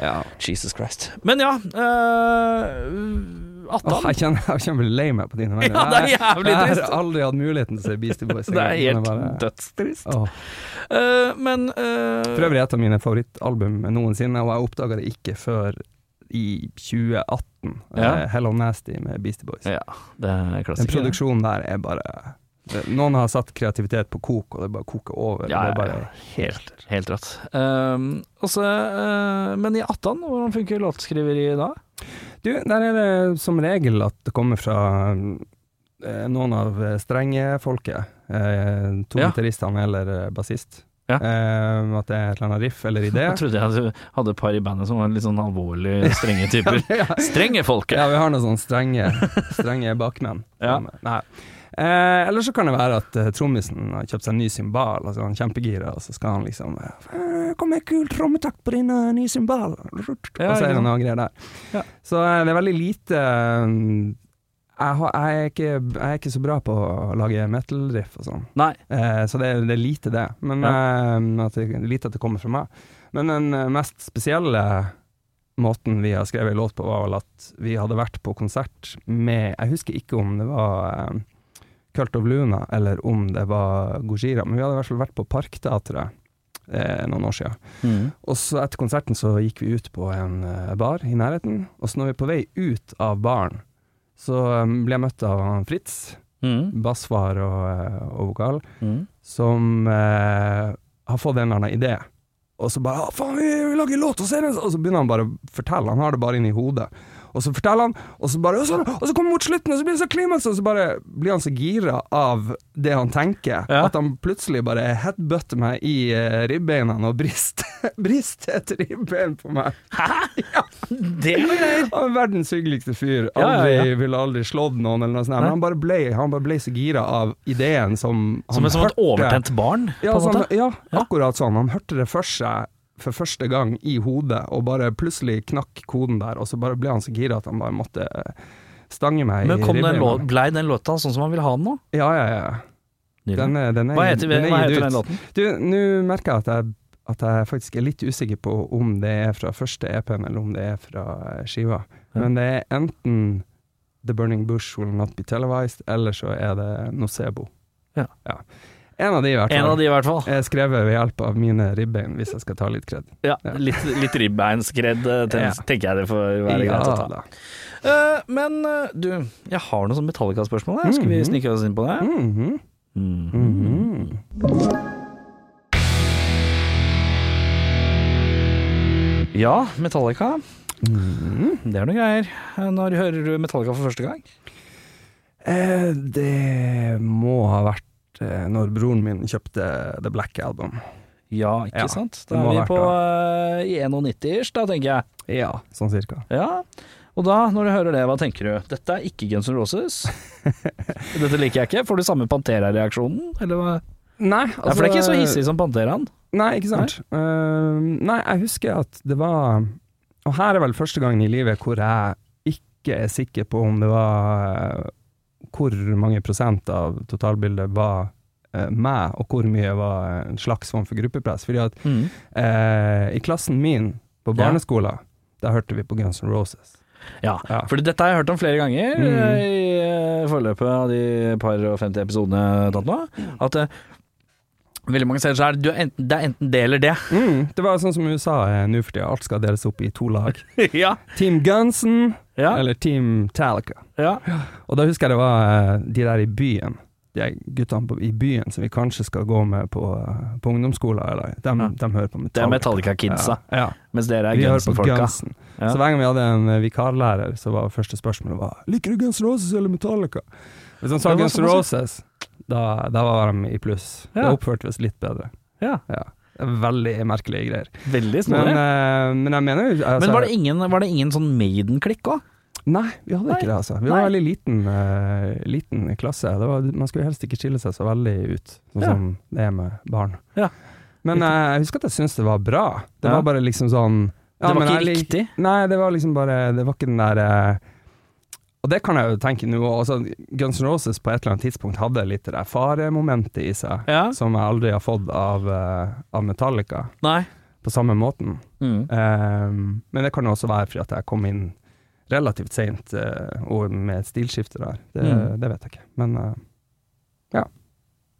Speaker 3: Ja.
Speaker 2: Jesus Christ. Men ja øh,
Speaker 3: Åh,
Speaker 2: Attan.
Speaker 3: jeg kjenner jeg kjenner jeg blir lei meg på dine vegne.
Speaker 2: ja, det er jævlig
Speaker 3: Jeg
Speaker 2: trist.
Speaker 3: har aldri hatt muligheten til å se Beastie Boys.
Speaker 2: Det er
Speaker 3: Jeg kan
Speaker 2: helt
Speaker 3: bare-
Speaker 2: dødstrist.
Speaker 3: Åh.
Speaker 2: Eh, men eh,
Speaker 3: For øvrig et av mine favorittalbum noensinne, og jeg oppdaga det ikke før i 2018.
Speaker 2: Ja.
Speaker 3: Eh, Hello Nasty med Beastie Boys.
Speaker 2: Ja, det er
Speaker 3: Den
Speaker 2: klassiker.
Speaker 3: produksjonen der er bare det- Noen har satt kreativitet på kok, og det bare koker over.
Speaker 2: Ja,
Speaker 3: det er
Speaker 2: ja,
Speaker 3: bare
Speaker 2: ja. Helt, helt rått. Eh, og så, eh, men i Attan, hvordan funker låtskriveriet da?
Speaker 3: Du, der er det som regel at det kommer fra eh, noen av eh, strengefolket. Eh, to
Speaker 2: Ja.
Speaker 3: gitaristene eller eh, bassist.
Speaker 2: Ja.
Speaker 3: Eh, at det er et eller annet riff eller idé.
Speaker 2: Jeg trodde jeg hadde et par i bandet som var litt sånn alvorlig strenge typer. Strenge folket!
Speaker 3: Ja, vi har noen sånne strenge, strenge bakmenn.
Speaker 2: Ja.
Speaker 3: Som- Nei. Eh, eller så kan det være at eh, trommisen har kjøpt seg en ny symbal, altså han er kjempegira, og så skal han liksom eh, 'Kom med en kul trommetakt på din eh, nye symbal',
Speaker 2: Ja,
Speaker 3: og så er
Speaker 2: ikke
Speaker 3: det noe greier der.
Speaker 2: Ja.
Speaker 3: Så eh, det er veldig lite eh, jeg, har, jeg, er ikke, jeg er ikke så bra på å lage metal-riff og sånn.
Speaker 2: Nei.
Speaker 3: Eh, så det, er- det er lite det. Men eh, at det, lite at det kommer fra meg. Men den eh, mest spesielle måten vi har skrevet en låt på, var vel at vi hadde vært på konsert med Jeg husker ikke om det var eh, Cult of Luna eller om det var Gojira, men vi hadde i hvert fall vært på Parkteatret eh, noen år siden. Og så etter konserten så gikk vi ut på en eh, bar i nærheten, og så når vi er på vei ut av baren, så eh, ble jeg møtt av han Fritz,
Speaker 2: Mm.
Speaker 3: bassfar og, eh, og vokal
Speaker 2: Mm.
Speaker 3: som eh, har fått en eller annen idé. «Ah, sånn», Og så bare «Å, 'Faen, vi lager låt og ser den!» Og så begynner han bare å fortelle. Han har det bare inni hodet. og så forteller han, og så bare Og så, og så kommer vi mot slutten, og så blir det så klimaks, og så bare blir han så gira av det han tenker,
Speaker 2: Ja.
Speaker 3: at han plutselig bare headbutter meg i eh, ribbeina og brister brist et ribbein på meg. Mm.
Speaker 2: Det er greier!
Speaker 3: Han er verdens hyggeligste fyr.
Speaker 2: Ja, ja,
Speaker 3: Aldri,
Speaker 2: ja.
Speaker 3: Ville aldri slått noen, eller noe sånt.
Speaker 2: Nei.
Speaker 3: Men han bare ble, han bare ble så gira av ideen som
Speaker 2: Som,
Speaker 3: han
Speaker 2: som et overtent barn,
Speaker 3: ja,
Speaker 2: på en
Speaker 3: sånn,
Speaker 2: måte.
Speaker 3: ja, akkurat sånn. Han hørte det for seg for første gang i hodet, og bare plutselig knakk koden der, og så bare ble han så gira at han bare måtte eh, stange meg
Speaker 2: Men
Speaker 3: i
Speaker 2: kom den
Speaker 3: ribbeina.
Speaker 2: lå- blei den låta sånn som han ville ha den nå?
Speaker 3: Ja, ja, ja. Den er, den er,
Speaker 2: Hva heter,
Speaker 3: den er
Speaker 2: hva
Speaker 3: gitt
Speaker 2: heter
Speaker 3: ut.
Speaker 2: den låten?
Speaker 3: Du, nå merker jeg at jeg at jeg faktisk er litt usikker på om det er fra første EP-en eller om det er fra eh, skiva.
Speaker 2: Ja.
Speaker 3: Men det er enten The Burning Bush Will Not Be Televised, eller så er det Nocebo.
Speaker 2: Ja.
Speaker 3: En av de, i hvert
Speaker 2: En
Speaker 3: fall.
Speaker 2: av de, i hvert fall.
Speaker 3: Jeg er skrevet ved hjelp av mine ribbein, hvis jeg skal ta litt kred.
Speaker 2: Ja,
Speaker 3: Ja.
Speaker 2: Litt, litt ribbeinskred, eh, ten-
Speaker 3: Ja.
Speaker 2: tenker jeg det får være greit å ta. Eh, men eh, du, jeg har noe sånn Metallica-spørsmål. jeg. Skal vi
Speaker 3: Mhm.
Speaker 2: snike oss inn på det?
Speaker 3: Mhm,
Speaker 2: Mhm.
Speaker 3: mhm.
Speaker 2: Ja, Metallica.
Speaker 3: Mhm.
Speaker 2: Det er noe greier. Eh, Når hører du Metallica for første gang?
Speaker 3: Eh, det må ha vært eh, når broren min kjøpte The Black Album.
Speaker 2: Ja, ikke
Speaker 3: Ja,
Speaker 2: sant?
Speaker 3: det
Speaker 2: Da
Speaker 3: må
Speaker 2: er vi
Speaker 3: ha vært
Speaker 2: på eh, i 91-ish, da, tenker jeg.
Speaker 3: Ja, sånn cirka.
Speaker 2: Ja. Og da, når du hører det, hva tenker du? Dette er ikke Guns N' Roses. Dette liker jeg ikke. Får du samme Pantera-reaksjonen? Eller hva?
Speaker 3: Nei,
Speaker 2: ja, for det er ikke så hissig som Panteraen.
Speaker 3: Nei, ikke sant. Eh, nei, jeg husker at det var Og her er vel første gangen i livet hvor jeg ikke er sikker på om det var eh, Hvor mange prosent av totalbildet var eh, meg, og hvor mye var en slags form for gruppepress. Fordi at eh, i klassen min på
Speaker 2: Ja.
Speaker 3: barneskolen, da hørte vi på Guns N' Roses.
Speaker 2: Ja,
Speaker 3: Ja.
Speaker 2: for dette har jeg hørt om flere ganger
Speaker 3: Mhm.
Speaker 2: eh, i eh, forløpet av de par og 50 episodene jeg har tatt nå. At eh, veldig mange steder så er det, du er enten, det er enten det eller det.
Speaker 3: Mm, det var sånn som USA er nå for tida, alt skal deles opp i to lag.
Speaker 2: ja.
Speaker 3: Team Gunsen
Speaker 2: Ja,
Speaker 3: eller Team Talica.
Speaker 2: ja.
Speaker 3: Og da husker jeg det var eh, de der i byen, de her guttene på, i byen som vi kanskje skal gå med på, eh, på ungdomsskolen, eller de,
Speaker 2: Ja.
Speaker 3: hører på Metallica.
Speaker 2: Det er Metallica-kidsa,
Speaker 3: Ja, ja.
Speaker 2: mens dere
Speaker 3: Vi
Speaker 2: er
Speaker 3: hører på
Speaker 2: Gunsen-folka.
Speaker 3: Gunsen.
Speaker 2: Ja.
Speaker 3: Så hver gang vi hadde en eh, vikarlærer, så var første spørsmålet var, Liker du Guns N' Roses eller Metallica? Hvis han sa
Speaker 2: Det var
Speaker 3: Guns N'
Speaker 2: såpass, ja.
Speaker 3: Roses, da, da var de i pluss.
Speaker 2: Ja.
Speaker 3: Da oppførte vi oss litt bedre.
Speaker 2: Ja.
Speaker 3: Ja. Det er Veldig merkelige greier.
Speaker 2: Veldig
Speaker 3: Men,
Speaker 2: snodig. Men,
Speaker 3: eh, men jeg mener jo altså,
Speaker 2: var, det ingen, var det ingen sånn Maiden-klikk òg?
Speaker 3: Nei, vi hadde ikke det, altså. Vi var
Speaker 2: Nei.
Speaker 3: en veldig liten, eh, liten klasse. Det var, man skulle helst ikke skille seg så veldig ut, sånn
Speaker 2: Ja.
Speaker 3: som det er med barn.
Speaker 2: Ja.
Speaker 3: Men eh, jeg husker at jeg syntes det var bra. Det
Speaker 2: Ja.
Speaker 3: var bare liksom sånn
Speaker 2: det
Speaker 3: ja,
Speaker 2: var
Speaker 3: men
Speaker 2: ikke
Speaker 3: jeg lik-
Speaker 2: riktig.
Speaker 3: Nei, det var liksom bare Det var ikke den der eh, Og det kan jeg jo tenke nå òg. Altså, Guns N' Roses på et eller annet tidspunkt hadde litt det der faremomentet i seg,
Speaker 2: Ja.
Speaker 3: som jeg aldri har fått av, eh, av Metallica
Speaker 2: Nei.
Speaker 3: på samme måten.
Speaker 2: Mm.
Speaker 3: Ehm, men det kan jo også være fordi at jeg kom inn relativt seint, eh, og med et stilskifte der. Det,
Speaker 2: Mm.
Speaker 3: det vet jeg ikke, men eh,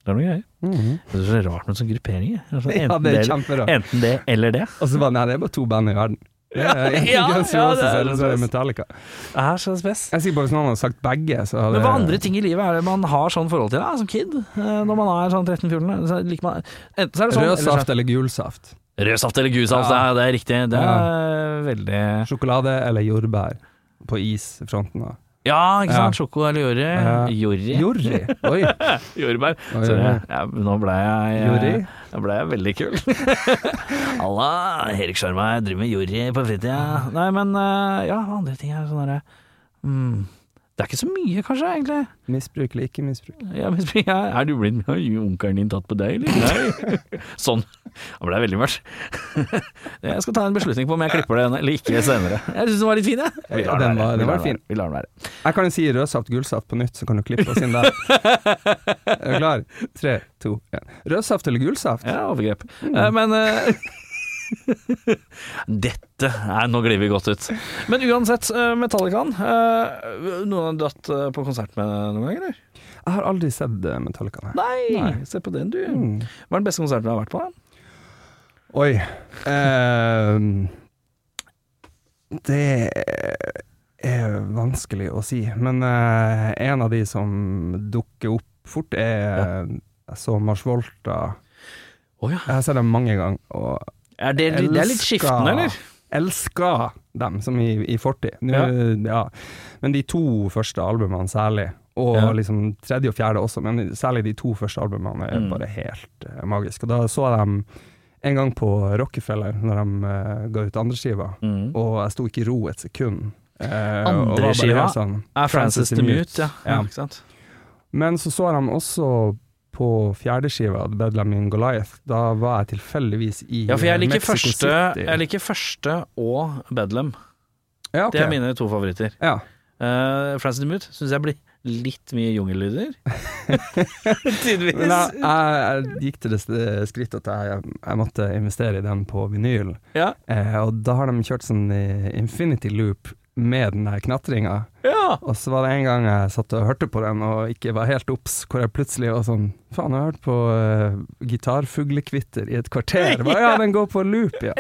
Speaker 2: Det er noe greier.
Speaker 3: mhm.
Speaker 2: Det er så rart med sånn gruppering. jeg. Altså,
Speaker 3: Ja,
Speaker 2: enten,
Speaker 3: det er
Speaker 2: det,
Speaker 3: kjemperart.
Speaker 2: enten det eller det.
Speaker 3: Og så bare Nei, det er bare to band i verden. Det er enten
Speaker 2: ja,
Speaker 3: Guns N'
Speaker 2: ja,
Speaker 3: Roses
Speaker 2: det sånn. er
Speaker 3: eller så er det Metallica.
Speaker 2: Det er så spes.
Speaker 3: Jeg er sikker på at Hvis noen hadde sagt begge, så hadde
Speaker 2: Men hva andre ting i livet er det man har sånn forhold til da, som kid? Eh, Når man er sånn 13-14? så liker man- Enten så er det sånn
Speaker 3: Rød
Speaker 2: eller så-
Speaker 3: saft eller gul saft?
Speaker 2: Rød saft eller gulsaft,
Speaker 3: Ja.
Speaker 2: ja. det er riktig. Det er veldig
Speaker 3: Sjokolade eller jordbær på isfronten? da?
Speaker 2: Ja, ikke
Speaker 3: Ja.
Speaker 2: sant? Sjoko eller jorri?
Speaker 3: Ja.
Speaker 2: Jorri.
Speaker 3: Jorri! Oi!
Speaker 2: Jordbær.
Speaker 3: Oi,
Speaker 2: Sorry,
Speaker 3: oi.
Speaker 2: ja, nå ble jeg
Speaker 3: Jorri.
Speaker 2: Nå ble jeg veldig kul. Halla, Erik Sjarma, jeg driver med jorri på fritida. Nei, men eh, ja, hva andre ting er sånn derre mm, Det er ikke så mye, kanskje, egentlig.
Speaker 3: Misbruk eller ikke misbruk?
Speaker 2: Ja, men spør jeg, er du blitt har onkelen din tatt på deg, eller? Nei. Sånn. Nå ble jeg veldig mørk. Jeg skal ta en beslutning på om jeg klipper den eller ikke senere. Jeg syns den var litt fin, jeg. Vi
Speaker 3: Ja,
Speaker 2: lar
Speaker 3: den
Speaker 2: være.
Speaker 3: var-
Speaker 2: Vi
Speaker 3: den
Speaker 2: lar
Speaker 3: var fin.
Speaker 2: være. Vi lar den være.
Speaker 3: Jeg kan jo si rød saft, gul saft på nytt, så kan du klippe oss inn der. Er du klar? Tre, to, én. Rød saft eller gul saft?
Speaker 2: Ja, overgrep.
Speaker 3: Mm.
Speaker 2: Eh, Men eh, Dette Nei, nå glir vi godt ut. Men uansett, eh, Metallicaen. eh, Noen har dratt eh, på konsert med deg noen gang, eller?
Speaker 3: Jeg har aldri sett eh, Metallica, nei.
Speaker 2: Nei, se på den, du.
Speaker 3: Mm.
Speaker 2: Hva er den beste konserten du har vært på? da?
Speaker 3: Oi. Ehm, det er vanskelig å si, men eh, en av de som dukker opp fort, er eh, Jeg så Mars Volta.
Speaker 2: Å ja.
Speaker 3: Jeg har sett dem mange ganger. Og
Speaker 2: Er det, det er litt
Speaker 3: elsker-
Speaker 2: skiftende, eller?
Speaker 3: elska dem, som i, i fortid. Nå, ja. Men de to første albumene særlig, og
Speaker 2: Ja.
Speaker 3: liksom tredje og fjerde også, men særlig de to første albumene er
Speaker 2: Mm.
Speaker 3: bare helt eh, magiske. Og da så jeg dem en gang på Rockefeller, når de eh, ga ut andreskiva,
Speaker 2: Mm.
Speaker 3: og jeg sto ikke i ro et sekund. Eh, og var bare
Speaker 2: Andreskiva
Speaker 3: helt sånn,
Speaker 2: Er Frances the Mute, ja.
Speaker 3: Ja.
Speaker 2: Ikke sant?
Speaker 3: Men så så jeg dem også på fjerdeskiva, Bedlam in Goliath. Da var jeg tilfeldigvis i
Speaker 2: Ja, for jeg liker,
Speaker 3: Mexico
Speaker 2: første,
Speaker 3: City.
Speaker 2: jeg liker første og Bedlam.
Speaker 3: ja, ok.
Speaker 2: Det er mine to favoritter.
Speaker 3: Ja.
Speaker 2: Uh, Frances the Mute syns jeg blir litt mye jungellyder.
Speaker 3: Men jeg,
Speaker 2: Tidvis.
Speaker 3: jeg, jeg gikk til det s- skritt at jeg, jeg måtte investere i den på vinyl.
Speaker 2: Ja.
Speaker 3: Eh, og da har de kjørt sånn i infinity loop med den der knatringa.
Speaker 2: ja.
Speaker 3: Og så var det en gang jeg satt og hørte på den og ikke var helt obs, hvor jeg plutselig var sånn Faen, jeg har hørt på uh, gitarfuglekvitter i et kvarter. Hva, ja, den går på loop, ja.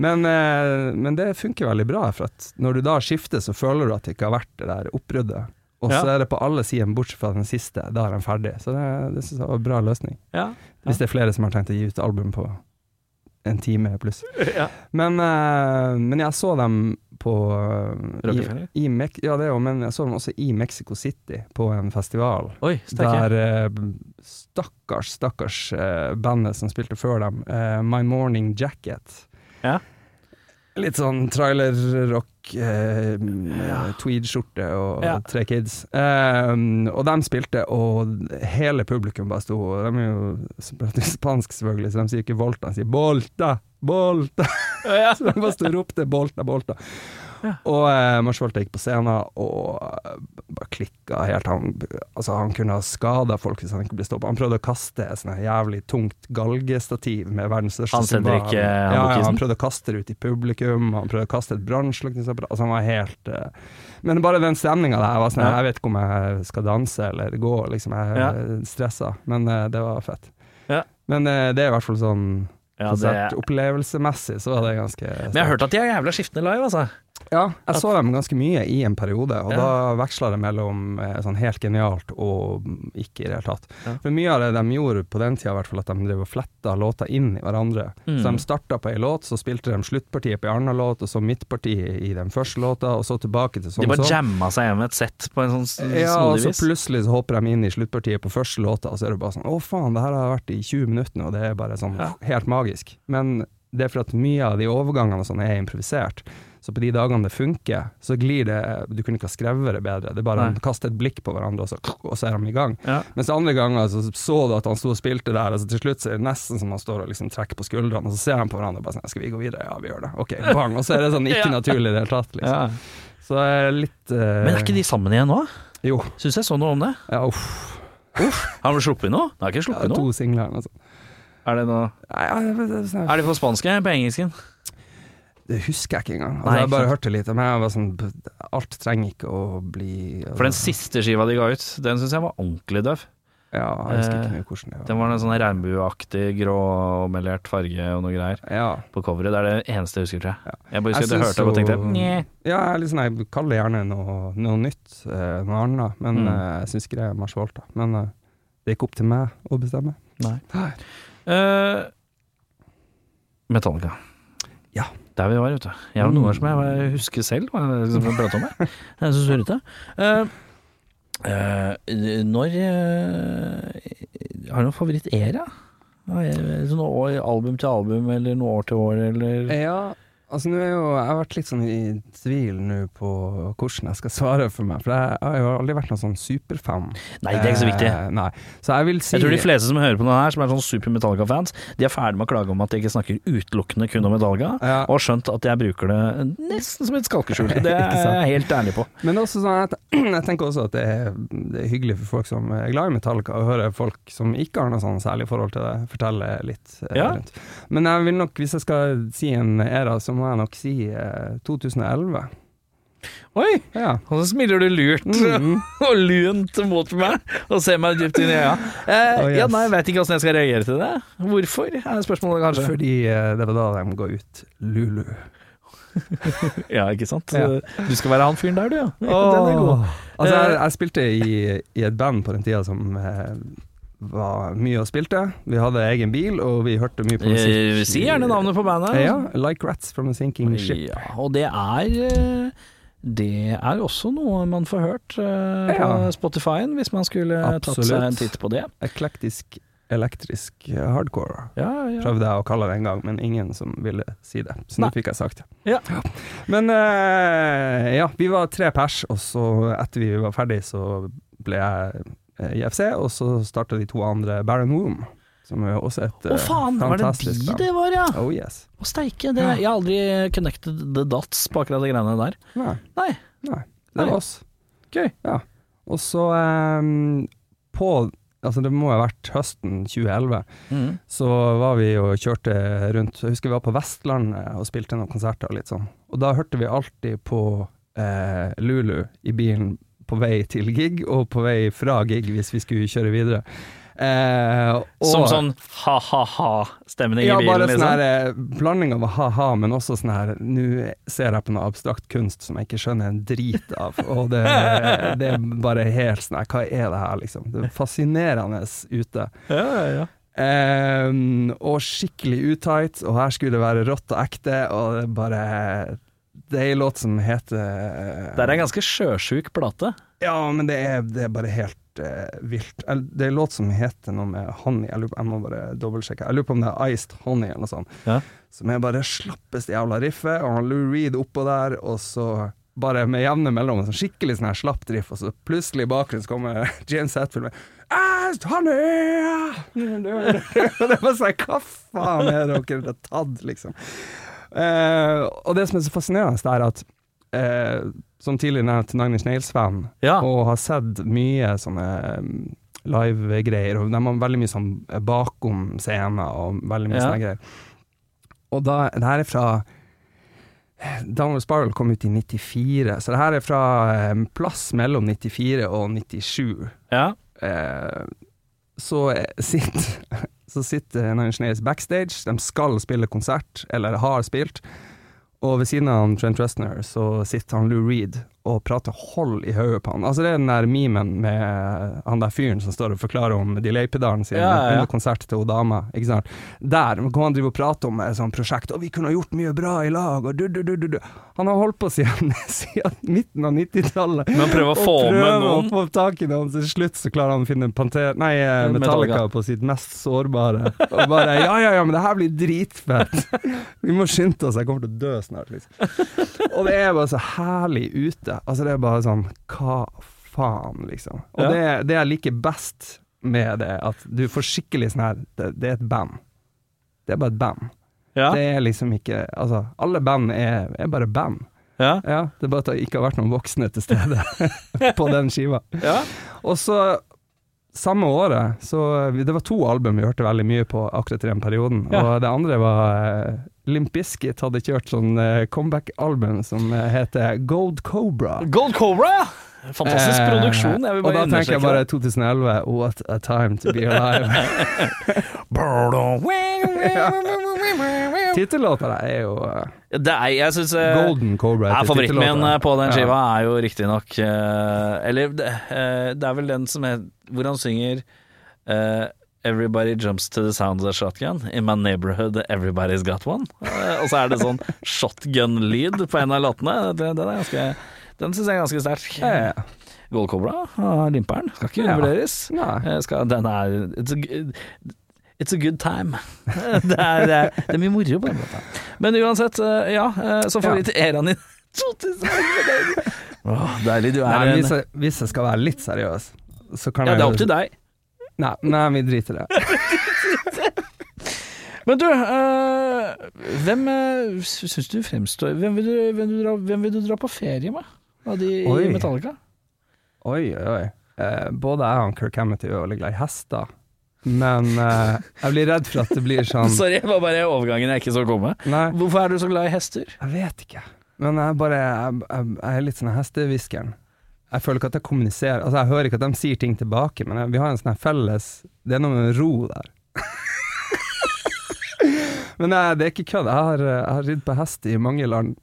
Speaker 3: Men, eh, men det funker veldig bra, for at når du da skifter, så føler du at det ikke har vært det der oppbruddet. Og så
Speaker 2: Ja.
Speaker 3: er det på alle sider, bortsett fra den siste. Da er den ferdig. Så det, det synes jeg var en bra løsning.
Speaker 2: ja.
Speaker 3: Hvis det er flere som har tenkt å gi ut album på en time pluss.
Speaker 2: ja.
Speaker 3: Men, eh, men jeg så dem på eh, i,
Speaker 2: Rockefeller?
Speaker 3: i Mek Ja, det er jo, men jeg så dem også i Mexico City, på en festival.
Speaker 2: Oi, sterke.
Speaker 3: Der eh, stakkars, stakkars eh, bandet som spilte før dem, eh, My Morning Jacket.
Speaker 2: Ja.
Speaker 3: Litt sånn trailerrock, eh,
Speaker 2: Ja.
Speaker 3: tweed-skjorte og
Speaker 2: Ja.
Speaker 3: tre kids. Eh, og de spilte, og hele publikum bare sto og De er jo som prater spansk, selvfølgelig, så de sier ikke Volta, de sier Bolta! Bolta!
Speaker 2: Ja.
Speaker 3: Så de bare sto og ropte 'Bolta, Bolta'.
Speaker 2: Ja.
Speaker 3: Og eh, Mars Volta gikk på scenen og eh, bare klikka helt. Han, altså, han kunne ha skada folk hvis han ikke ble stoppa. Han prøvde å kaste et sånt jævlig tungt galgestativ med verdens største
Speaker 2: Han sender
Speaker 3: cymbal.
Speaker 2: ikke han
Speaker 3: ja, ja,
Speaker 2: bukkisen?
Speaker 3: Han prøvde å kaste det ut i publikum, han prøvde å kaste et brannslukningsapparat Altså, han var helt eh, Men bare den stemninga der var sånn
Speaker 2: Ja.
Speaker 3: Jeg vet ikke om jeg skal danse eller gå, liksom. Jeg
Speaker 2: Ja.
Speaker 3: er stressa, men eh, det var fett.
Speaker 2: Ja.
Speaker 3: Men eh, det er i hvert fall sånn
Speaker 2: Ja, det er...
Speaker 3: Konsertopplevelsesmessig så var det ganske
Speaker 2: Men jeg har hørt at de er jævla skiftende live, altså.
Speaker 3: Ja, jeg så dem ganske mye i en periode, og
Speaker 2: Ja.
Speaker 3: da veksla det mellom eh, sånn helt genialt og ikke i det hele tatt.
Speaker 2: Ja.
Speaker 3: For mye av det de gjorde på den tida, i hvert fall at de drev og fletta låter inn i hverandre.
Speaker 2: Mm.
Speaker 3: Så de starta på ei låt, så spilte de sluttpartiet på ei anna låt, og så midtpartiet i den første låta, og så tilbake til sånn
Speaker 2: De bare
Speaker 3: sånn.
Speaker 2: jamma seg gjennom et sett på en sånn s-
Speaker 3: Ja, altså, og
Speaker 2: snodig
Speaker 3: så
Speaker 2: vis.
Speaker 3: plutselig så hopper de inn i sluttpartiet på første låta, og så er det bare sånn Å, faen, det her har vært i 20 minutter nå, og det er bare sånn
Speaker 2: Ja.
Speaker 3: helt magisk. Men det er for at mye av de overgangene og sånn er improvisert. Så på de dagene det funker, så glir det Du kunne ikke ha skrevet det bedre. Det er bare
Speaker 2: Nei.
Speaker 3: å kaste et blikk på hverandre, og så, og så er de i gang.
Speaker 2: Ja.
Speaker 3: Mens andre ganger så så du at han sto og spilte der, og så til slutt så er det nesten som han står og liksom trekker på skuldrene, og så ser han på hverandre og bare sånn Skal vi gå videre? Ja, vi gjør det. Ok, bang. Og så er det sånn ikke
Speaker 2: Ja.
Speaker 3: naturlig i det hele tatt, liksom. Så det er litt eh,
Speaker 2: Men er ikke de sammen igjen nå?
Speaker 3: Jo.
Speaker 2: Syns jeg så noe om det.
Speaker 3: Ja, uff.
Speaker 2: Har de sluppet noe? De har ikke
Speaker 3: Ja,
Speaker 2: sluppet noe.
Speaker 3: to singler eller noe sånt.
Speaker 2: Er det noe?
Speaker 3: Nei, ja, det- det- det-
Speaker 2: Er de på spansk eller på engelsken?
Speaker 3: Det husker jeg ikke engang. Altså,
Speaker 2: Nei,
Speaker 3: jeg
Speaker 2: ikke
Speaker 3: bare
Speaker 2: sant.
Speaker 3: hørte litt. Men jeg var sånn Alt trenger ikke å bli altså,
Speaker 2: For den siste skiva de ga ut, den syns jeg var ordentlig døv.
Speaker 3: Ja, jeg husker ikke
Speaker 2: eh,
Speaker 3: mye hvordan det var.
Speaker 2: Den var en sånn regnbueaktig, gråmelert farge og noe greier
Speaker 3: ja.
Speaker 2: på coveret. Det er det eneste jeg husker, tror jeg. Jeg bare
Speaker 3: Jeg
Speaker 2: husker at jeg
Speaker 3: syns
Speaker 2: hørte det og tenkte
Speaker 3: jo-
Speaker 2: Nje.
Speaker 3: ja, jeg er litt sånn, jeg kaller det gjerne noe, noe nytt, eh, noe annet, men
Speaker 2: Mm.
Speaker 3: eh, jeg syns ikke det er Mars Volta. Men eh, det gikk opp til meg å bestemme.
Speaker 2: Nei.
Speaker 3: Nei.
Speaker 2: Eh, Metallica.
Speaker 3: Ja.
Speaker 2: Der vi var, vet du. Jeg har
Speaker 3: Mm.
Speaker 2: noe som jeg bare husker selv hva jeg liksom prate om. Jeg. Jeg er så surrete. Eh, eh, når eh, Har du noen favorittera? Ja, jeg- Sånn år, album til album, eller noe år til år, eller
Speaker 3: Ja, altså nå er jo Jeg har vært litt sånn i tvil nå på hvordan jeg skal svare for meg, for jeg har jo aldri vært noen sånn superfan.
Speaker 2: Nei, det er ikke så viktig.
Speaker 3: Eh, nei. Så jeg vil si
Speaker 2: Jeg tror de fleste som hører på denne her, som er sånn super Metallica-fans, de er ferdig med å klage om at de ikke snakker utelukkende kun om Metallica,
Speaker 3: Ja.
Speaker 2: og har skjønt at jeg bruker det nesten som et skalkeskjul. Det
Speaker 3: Ikke sant.
Speaker 2: er jeg helt ærlig på.
Speaker 3: Men også sånn at, jeg tenker også at det er, det er hyggelig for folk som er glad i Metallica, å høre folk som ikke har noe sånn særlig forhold til det, fortelle litt eh,
Speaker 2: Ja.
Speaker 3: rundt. Men jeg vil nok, hvis jeg skal si en æra, så må jeg nok si eh, 2011.
Speaker 2: Oi!
Speaker 3: Ja.
Speaker 2: Og så smiler du lurt
Speaker 3: Mm.
Speaker 2: og lunt mot meg og ser meg dypt inn i øya. Eh,
Speaker 3: Oh, yes.
Speaker 2: ja, nei, jeg vet ikke åssen jeg skal reagere til det. Hvorfor, er spørsmålet kanskje.
Speaker 3: Fordi eh, det var da de ga ut Lulu.
Speaker 2: Ja, ikke sant.
Speaker 3: Ja.
Speaker 2: Du skal være han fyren der, du, ja.
Speaker 3: Den er god. Altså, jeg,
Speaker 2: Eh.
Speaker 3: jeg spilte i, i et band på den tida som eh, var mye og spilte. Vi hadde egen bil, og vi hørte mye på musikk.
Speaker 2: Eh, Si gjerne navnet på bandet.
Speaker 3: Ja, Like Rats from a Sinking Ship.
Speaker 2: Ja, og det er eh, det er også noe man får hørt eh, på
Speaker 3: Ja.
Speaker 2: Spotify-en, hvis man skulle tatt seg
Speaker 3: Absolutt.
Speaker 2: en titt på det.
Speaker 3: Eklektisk elektrisk eh, hardcore.
Speaker 2: Ja, ja.
Speaker 3: Prøvde jeg å kalle det en gang, men ingen som ville si det. Så nå
Speaker 2: Nei.
Speaker 3: fikk jeg sagt det.
Speaker 2: Ja.
Speaker 3: Men eh, ja, vi var tre pers, og så etter vi var ferdig, så ble jeg eh, i FC, og så starta de to andre Baron Womb, som er også et
Speaker 2: Å
Speaker 3: eh,
Speaker 2: faen, var det
Speaker 3: fantastisk
Speaker 2: de
Speaker 3: band.
Speaker 2: det var, ja?
Speaker 3: Oh yes.
Speaker 2: Å steike, det, jeg har aldri connected the dots på akkurat de greiene der.
Speaker 3: Nei.
Speaker 2: Nei.
Speaker 3: Nei. Det
Speaker 2: Nei.
Speaker 3: var oss.
Speaker 2: Gøy.
Speaker 3: Ja. Og så eh, på Altså, det må ha vært høsten 2011.
Speaker 2: Mm.
Speaker 3: så var vi og kjørte rundt. Jeg husker vi var på Vestlandet og spilte noen konserter og litt sånn. Og da hørte vi alltid på eh, Lulu i bilen på vei til gig, og på vei fra gig hvis vi skulle kjøre videre. Eh, og-
Speaker 2: Som sånn ha-ha-ha-stemning
Speaker 3: ja,
Speaker 2: i bilen,
Speaker 3: bare sånn
Speaker 2: liksom.
Speaker 3: her eh, blanding av ha-ha, men også sånn her Nå ser jeg på noe abstrakt kunst som jeg ikke skjønner en drit av, og det, det er bare helt sånn her Hva er det her, liksom? Det er fascinerende ute.
Speaker 2: Ja, ja, ja.
Speaker 3: Ehm, og skikkelig utight, og her skulle det være rått og ekte, og det er bare Det er en låt som heter
Speaker 2: Det er en ganske sjøsjuk plate.
Speaker 3: Ja, men det er, det er bare helt eh, vilt. El- Det er en låt som heter noe med honey, jeg, lurer, på- jeg må bare dobbeltsjekke. Jeg lurer på om det er Iced Honey eller noe sånt.
Speaker 2: Ja.
Speaker 3: Som er bare slappeste jævla riffet, og han Lou Reed oppå der, og så bare med jevne mellom, sånn skikkelig sånn her slapt riff, og så plutselig i bakgrunnen så kommer James Hetfield med «Ah, Iced Honey! Og det var sånn, hva faen er det dere har tatt, liksom? Eh, og det som er så fascinerende, det er at eh, som tidligere nevnt Nine Inch Nails-fan,
Speaker 2: Ja.
Speaker 3: og har sett mye sånne mm, live-greier, og de har veldig mye sånn bakom scener og veldig mye
Speaker 2: Ja.
Speaker 3: sånne greier. Og da, det her er fra eh, Downward Spiral kom ut i 94, så det her er fra eh, en plass mellom 94 og 97.
Speaker 2: Ja.
Speaker 3: Eh, så eh, sitter så sitter en ingeniør backstage, de skal spille konsert, eller har spilt, og ved siden av han, Trent Restner så sitter han Lou Reed og prater hold i hodet på han. Altså det er den der memen med han der fyren som står og forklarer om delay-pedalen sin
Speaker 2: Ja, ja, ja.
Speaker 3: under konsert til hun dama, ikke sant. Der kan han drive og prate om et sånt prosjekt, og vi kunne ha gjort mye bra i lag, og du, du, du, du, du. Han har holdt på siden, siden midten av 90-tallet
Speaker 2: Men prøve å
Speaker 3: og
Speaker 2: få med
Speaker 3: prøver
Speaker 2: noen.
Speaker 3: å få tak i noen, så til slutt så klarer han å finne Panther, nei, eh,
Speaker 2: Metallica.
Speaker 3: Metallica på sitt mest sårbare. Og bare ja, ja, ja, men det her blir dritfett. Vi må skynde oss, jeg kommer til å dø snart, liksom. Og det er bare så herlig ute. Altså, det er bare sånn hva faen, liksom. Og
Speaker 2: Ja.
Speaker 3: det, det jeg liker best med det, at du får skikkelig sånn her det, det er et band. Det er bare et band.
Speaker 2: Ja,
Speaker 3: Det er liksom ikke Altså, alle band er, er bare band.
Speaker 2: ja,
Speaker 3: Ja, det er bare at det ikke har vært noen voksne til stede på den skiva.
Speaker 2: ja.
Speaker 3: Og så samme året, så vi- det var to album vi hørte veldig mye på akkurat i den perioden.
Speaker 2: Ja.
Speaker 3: Og det andre var eh, Limp Bizkit hadde kjørt sånn eh, comeback-album som eh, heter Gold Cobra.
Speaker 2: Gold Cobra! ja. Fantastisk
Speaker 3: Eh,
Speaker 2: produksjon. Jeg vil bare
Speaker 3: og da tenker jeg
Speaker 2: understreke
Speaker 3: bare
Speaker 2: det.
Speaker 3: 2011, what a time to be alive. Tittellåta der er jo eh,
Speaker 2: Det er, jeg synes, eh,
Speaker 3: Golden Cobra.
Speaker 2: Ja,
Speaker 3: heter
Speaker 2: favoritten min
Speaker 3: tittellåta.
Speaker 2: eh, på den
Speaker 3: Ja.
Speaker 2: skiva er jo riktignok eh, Eller det, eh, det er vel den som er Hvor han synger eh, Everybody jumps to the sound of a shotgun. In my neighborhood everybody's got one. Eh, og så er det sånn shotgun-lyd på en av låtene. Det- Den, er ganske- den syns jeg er ganske sterk.
Speaker 3: Ja, ja.
Speaker 2: Gold Cobra av Limper'n. Skal ikke
Speaker 3: Ja.
Speaker 2: undervurderes.
Speaker 3: Nei.
Speaker 2: Eh, Skal, den er it's a, g- it's a good time. det, er, det, er, det er mye moro på den måten. Men uansett, eh, ja. eh, Så får vi til æraen din. 2011. Åh, deilig. Du
Speaker 3: Nei,
Speaker 2: er
Speaker 3: men
Speaker 2: en
Speaker 3: hvis, jeg, hvis jeg skal være litt seriøs, så kan
Speaker 2: Ja,
Speaker 3: jeg
Speaker 2: det er opp til deg.
Speaker 3: Nei, nei, vi driter i det.
Speaker 2: Men du, eh, hvem eh, sy- syns du fremstår hvem vil du, hvem, du dra, hvem vil du dra på ferie med av de i
Speaker 3: Oi.
Speaker 2: Metallica?
Speaker 3: Oi, oi, oi. Eh, både jeg og Kirk Hammett er jo veldig glad i hester, men eh, jeg blir redd for at det blir sånn
Speaker 2: Sorry, det var bare overgangen jeg ikke så komme.
Speaker 3: Nei,
Speaker 2: Hvorfor er du så glad i hester?
Speaker 3: jeg vet ikke. Men jeg bare Jeg, jeg, jeg er litt sånn hestehviskeren. Jeg føler ikke at jeg kommuniserer Altså, jeg hører ikke at de sier ting tilbake, men jeg, vi har en sånn her felles Det er noe med ro der. men eh, det er ikke kødd. Jeg har, eh, jeg har ridd på hest i mange land.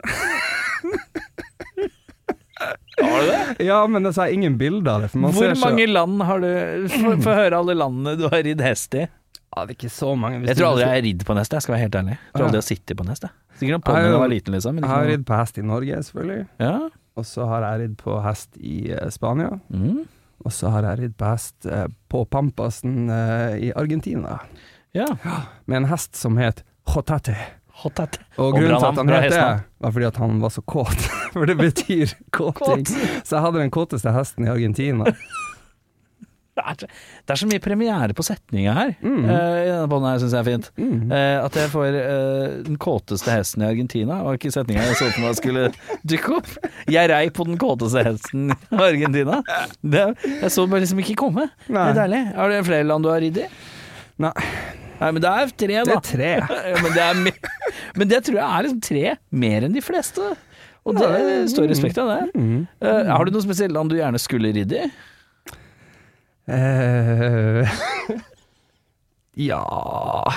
Speaker 2: Har du det?
Speaker 3: Ja, men altså, jeg har ingen bilder av det. For man
Speaker 2: Hvor
Speaker 3: ser
Speaker 2: mange land har du Få få høre alle landene du har ridd hest i.
Speaker 3: Ja, det er ikke så Ah, mange. Hvis
Speaker 2: Jeg
Speaker 3: du-
Speaker 2: tror aldri jeg har ridd på en hest, jeg skal være helt ærlig. Jeg tror aldri jeg har sittet på en hest. jeg. Sikkert en ponni da jeg var liten, liksom. Men
Speaker 3: Jeg har
Speaker 2: ikke noe.
Speaker 3: ridd på hest i Norge, selvfølgelig.
Speaker 2: Ja.
Speaker 3: Og så har jeg ridd på hest i eh, Spania.
Speaker 2: Mm.
Speaker 3: Og så har jeg ridd på hest eh, på Pampasen eh, i Argentina.
Speaker 2: ja.
Speaker 3: Med en hest som het Jotate.
Speaker 2: Hot hat. Og
Speaker 3: Og grunnen
Speaker 2: bra
Speaker 3: til at
Speaker 2: navn,
Speaker 3: han
Speaker 2: bra
Speaker 3: het det,
Speaker 2: hestnavn.
Speaker 3: var fordi at han var så kåt. For det betyr kåting. Så jeg hadde den kåteste hesten i Argentina.
Speaker 2: Det er, så- det er så mye premiere på setninga her.
Speaker 3: Mm.
Speaker 2: eh, I denne bånden her syns jeg er fint. Eh, at jeg får eh, den kåteste hesten i Argentina, var ikke setninga jeg så for meg skulle dukke opp. Jeg rei på den kåteste hesten i Argentina. Det, jeg så bare liksom ikke komme.
Speaker 3: Nei.
Speaker 2: Det er deilig. Er det flere land du har ridd i?
Speaker 3: Nei,
Speaker 2: Nei, men det er tre,
Speaker 3: det
Speaker 2: da.
Speaker 3: er tre.
Speaker 2: Ja, men, det er me men det tror jeg er liksom tre mer enn de fleste. Og det
Speaker 3: mm,
Speaker 2: står respekt av det. Eh, har du noe spesielt land du gjerne skulle ridd i?
Speaker 3: Eh, ja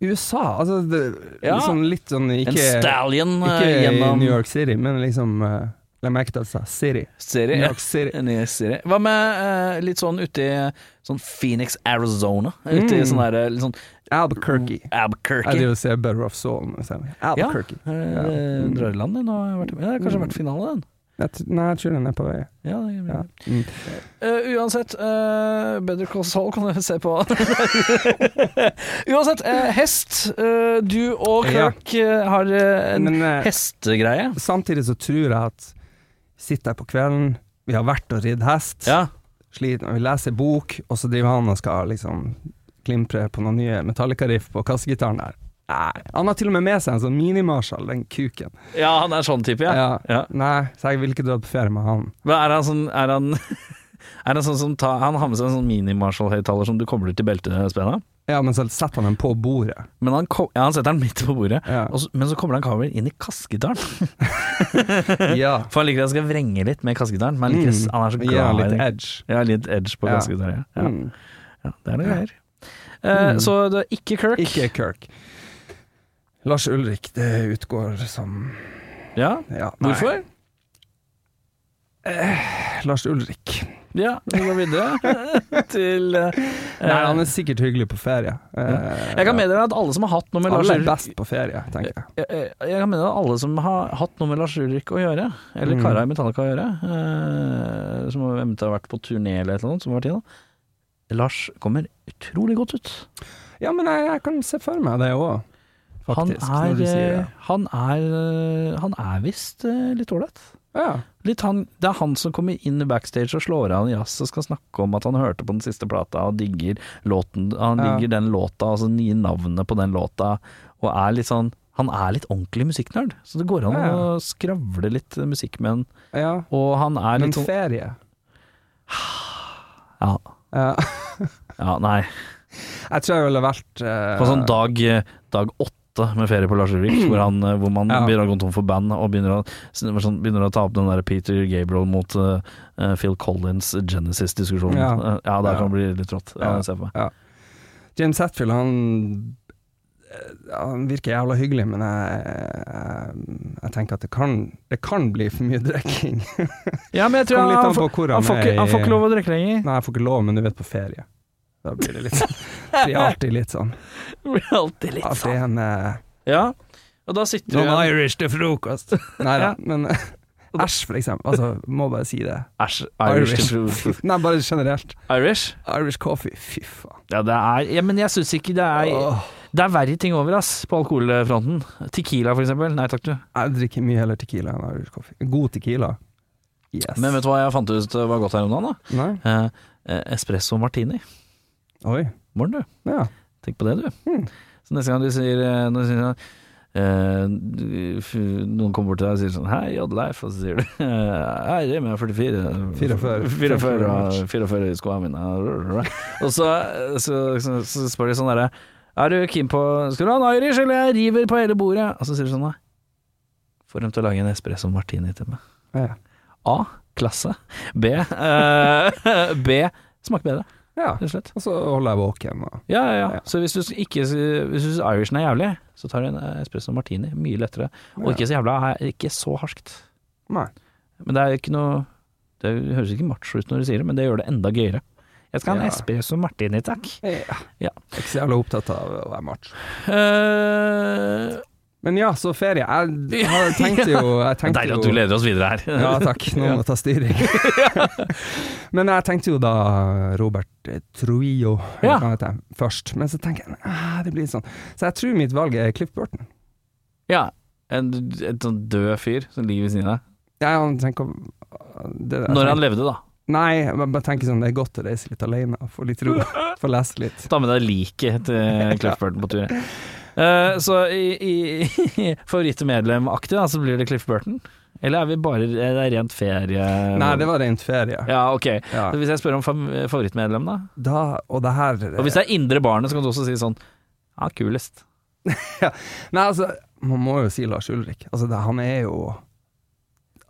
Speaker 3: USA, altså det,
Speaker 2: Ja.
Speaker 3: liksom litt sånn ikke,
Speaker 2: En stallion eh,
Speaker 3: ikke i
Speaker 2: gjennom
Speaker 3: New York City, men liksom eh, La meg ikke ta seg City.
Speaker 2: Serie.
Speaker 3: New
Speaker 2: ja.
Speaker 3: York City.
Speaker 2: En ny serie. Hva med eh, litt sånn uti sånn Phoenix, Arizona? Uti
Speaker 3: Mm.
Speaker 2: sånn der eh, litt sånn
Speaker 3: Albuquerque. Jeg
Speaker 2: Abkirky.
Speaker 3: driver og ser Better Off Soul nå. ser jeg.
Speaker 2: Ja,
Speaker 3: Albuquerque. Ja. Mm.
Speaker 2: eh, drar i land den. og har vært med. Det har kanskje vært finale, den.
Speaker 3: Jeg tr- Nei, jeg tror den er på vei.
Speaker 2: Ja, det er-
Speaker 3: Ja. Mm.
Speaker 2: Eh, uansett, uh, Better Call Saul kan jeg se på. uansett, eh, hest. eh, du og
Speaker 3: Ja.
Speaker 2: Kirk eh, har eh, en
Speaker 3: Men eh,
Speaker 2: hestegreie.
Speaker 3: samtidig så tror jeg at sitter jeg på kvelden, vi har vært og ridd hest,
Speaker 2: Ja.
Speaker 3: sliten, og vi leser bok, og så driver han og skal liksom klimpre på noen nye Metallica-riff på kassegitaren der. Nei. Han har til og med med seg en sånn mini-Marshall, den kuken.
Speaker 2: ja, han er sånn type, ja.
Speaker 3: Ja. Nei, så jeg vil ikke dra på ferie med han.
Speaker 2: Men er han sånn Er han, er han sånn som ta, Han har med seg en sånn mini-Marshall-høyttaler som du kobler til beltespenna.
Speaker 3: Ja, men så setter han den på bordet.
Speaker 2: Men han, ko- ja, han setter den midt på bordet,
Speaker 3: Ja.
Speaker 2: og så, men så kommer han kabelen inn i kassegitaren.
Speaker 3: Ja.
Speaker 2: For han liker at jeg skal vrenge litt med kassegitaren. Men han, liker,
Speaker 3: Mm.
Speaker 2: han er så
Speaker 3: Gi han
Speaker 2: glad i
Speaker 3: litt
Speaker 2: den.
Speaker 3: edge.
Speaker 2: Ja, litt edge på
Speaker 3: Ja.
Speaker 2: kassegitaren. Ja. Ja.
Speaker 3: Mm.
Speaker 2: Ja, det er noe greier. Eh,
Speaker 3: Mm.
Speaker 2: Så det er ikke Kirk.
Speaker 3: Ikke Kirk. Lars Ulrik, det utgår som
Speaker 2: Ja.
Speaker 3: ja, nei.
Speaker 2: Hvorfor?
Speaker 3: Lars Ulrik.
Speaker 2: Ja, vi går videre til eh,
Speaker 3: Nei, han er sikkert hyggelig på ferie. Eh,
Speaker 2: Jeg kan meddele at alle som har hatt noe med Lars
Speaker 3: Alle er
Speaker 2: Ulrik
Speaker 3: best på ferie, tenker jeg.
Speaker 2: jeg, jeg- jeg kan mene at alle som har hatt noe med Lars Ulrik å gjøre, eller
Speaker 3: Mm.
Speaker 2: kara i Metallica å gjøre, eh, som eventuelt har vært på turné eller et eller annet, som har vært i da, Lars kommer utrolig godt ut.
Speaker 3: Ja, men jeg, jeg kan se for meg det òg,
Speaker 2: Han
Speaker 3: faktisk. når
Speaker 2: er,
Speaker 3: du sier
Speaker 2: eh,
Speaker 3: det.
Speaker 2: han er, eh, han er visst eh, litt ålreit.
Speaker 3: Ja.
Speaker 2: Litt han, det er han som kommer inn backstage og slår av en jazz og skal snakke om at han hørte på den siste plata og digger låten Han
Speaker 3: Ja.
Speaker 2: digger den låta, altså nye navnet på den låta, og er litt sånn Han er litt ordentlig musikknerd, så det går an
Speaker 3: Ja.
Speaker 2: å skravle litt musikk med han.
Speaker 3: ja.
Speaker 2: Og han er
Speaker 3: Men
Speaker 2: litt sånn
Speaker 3: ferie
Speaker 2: ja,
Speaker 3: ja.
Speaker 2: ja, nei.
Speaker 3: Jeg tror jeg ville vært eh,
Speaker 2: På sånn dag, dag åtte med ferie på Lars Ulrik, hvor, han, eh, hvor man
Speaker 3: Ja.
Speaker 2: begynner å gå tom for band og begynner å, sånn, begynner å ta opp den der Peter Gabriel mot eh, Phil Collins Genesis-diskusjonen. Ja.
Speaker 3: Ja.
Speaker 2: ja, det
Speaker 3: Ja.
Speaker 2: kan bli litt rått. Ja,
Speaker 3: Ja.
Speaker 2: ser jeg for meg.
Speaker 3: James Hetfield, han eh, han virker jævla hyggelig, men jeg, eh, jeg, jeg tenker at det kan, det kan bli for mye drikking.
Speaker 2: Ja, men jeg tror han,
Speaker 3: Kommer litt an
Speaker 2: får,
Speaker 3: på hvor han,
Speaker 2: han, får
Speaker 3: er
Speaker 2: ikke,
Speaker 3: i-
Speaker 2: han får ikke lov å drikke lenger.
Speaker 3: Nei, jeg får ikke lov, men du vet, på ferie. Da blir det litt sånn. Blir alltid litt sånn.
Speaker 2: Blir alltid litt
Speaker 3: Alltid en eh,
Speaker 2: Ja, og da sitter du igjen-
Speaker 3: Irish til frokost. Nei da, men Æsj, for eksempel. Altså, må bare si det.
Speaker 2: Æsj, Irish. Irish.
Speaker 3: Nei, bare generelt.
Speaker 2: Irish?
Speaker 3: Irish coffee, fy faen.
Speaker 2: Ja, det er, ja, men jeg syns ikke det er
Speaker 3: Åh,
Speaker 2: Det er verre ting over, ass, på alkoholfronten. Tequila, for eksempel. Nei takk, du.
Speaker 3: jeg drikker mye heller tequila enn Irish coffee. God tequila. Yes.
Speaker 2: Men vet du hva jeg fant ut eh, var godt her om dagen? da?
Speaker 3: Nei?
Speaker 2: Eh, eh, espresso martini.
Speaker 3: Oi.
Speaker 2: Morgen, du.
Speaker 3: Ja.
Speaker 2: Tenk på det, du.
Speaker 3: Mm.
Speaker 2: Så neste gang du sier eh, når du sier, sånn, eh, du- f- Noen kommer bort til deg og sier sånn Hei, Oddleif. Og så sier du eh, Hei, Remi, jeg er 44.
Speaker 3: 44.
Speaker 2: 44, og 44 i skoene mine. Og så, så, så, så spør de sånn derre Er du keen på Skal du ha en Irish, eller jeg river på hele bordet? Og så sier du sånn da Får dem til å lage en espresso martini til meg.
Speaker 3: Ja.
Speaker 2: A. Klasse. B. eh, B. Smaker bedre,
Speaker 3: ja.
Speaker 2: rett og slett.
Speaker 3: Og så holder jeg våken. Og.
Speaker 2: Ja, ja, ja.
Speaker 3: Ja.
Speaker 2: Så hvis du ikke Hvis du syns irishen er jævlig, eh, så tar du en espresso martini. Mye lettere. Og
Speaker 3: Ja.
Speaker 2: ikke så jævla Ikke så harskt.
Speaker 3: Nei.
Speaker 2: Men det er jo ikke noe Det er jo- det høres ikke macho ut når du sier det, men det gjør det enda gøyere. Jeg skal ha en
Speaker 3: Ja.
Speaker 2: espresso martini, takk.
Speaker 3: Ja.
Speaker 2: Ja.
Speaker 3: Jeg er ikke så jævla opptatt av å være macho.
Speaker 2: Eh,
Speaker 3: Men ja, så ferie. Jeg har- tenkte jo jeg tenkte
Speaker 2: Deilig at
Speaker 3: jo-
Speaker 2: du leder oss videre her.
Speaker 3: Ja, takk. Noen må ta styring. Men jeg tenkte jo da Robert eh, Trujillo eller
Speaker 2: Ja.
Speaker 3: hva han heter, først. Men så tenker jeg ah, det blir sånn. Så jeg tror mitt valg er Cliff Burton.
Speaker 2: Ja, en, en sånn død fyr som ligger ved siden av deg.
Speaker 3: Jeg, han tenker, eh, det, jeg
Speaker 2: Når han
Speaker 3: tenker-
Speaker 2: levde, da.
Speaker 3: Nei, jeg bare tenker sånn, det er godt å reise litt alene og få litt ro. Få lese litt.
Speaker 2: Ta med deg liket til Cliff Burton på tur. Eh, så i, i favorittmedlemaktig, da, så blir det Cliff Burton? Eller er vi bare er det rent ferie...?
Speaker 3: Nei, det var rent ferie.
Speaker 2: Ja, ok.
Speaker 3: Ja.
Speaker 2: Så hvis jeg spør om fam- favorittmedlem, da?
Speaker 3: Da, og det her
Speaker 2: Og hvis det er indre barnet, så kan du også si sånn Ja, kulest.
Speaker 3: Nei, altså, man må jo si Lars Ulrik. Altså, det, han er jo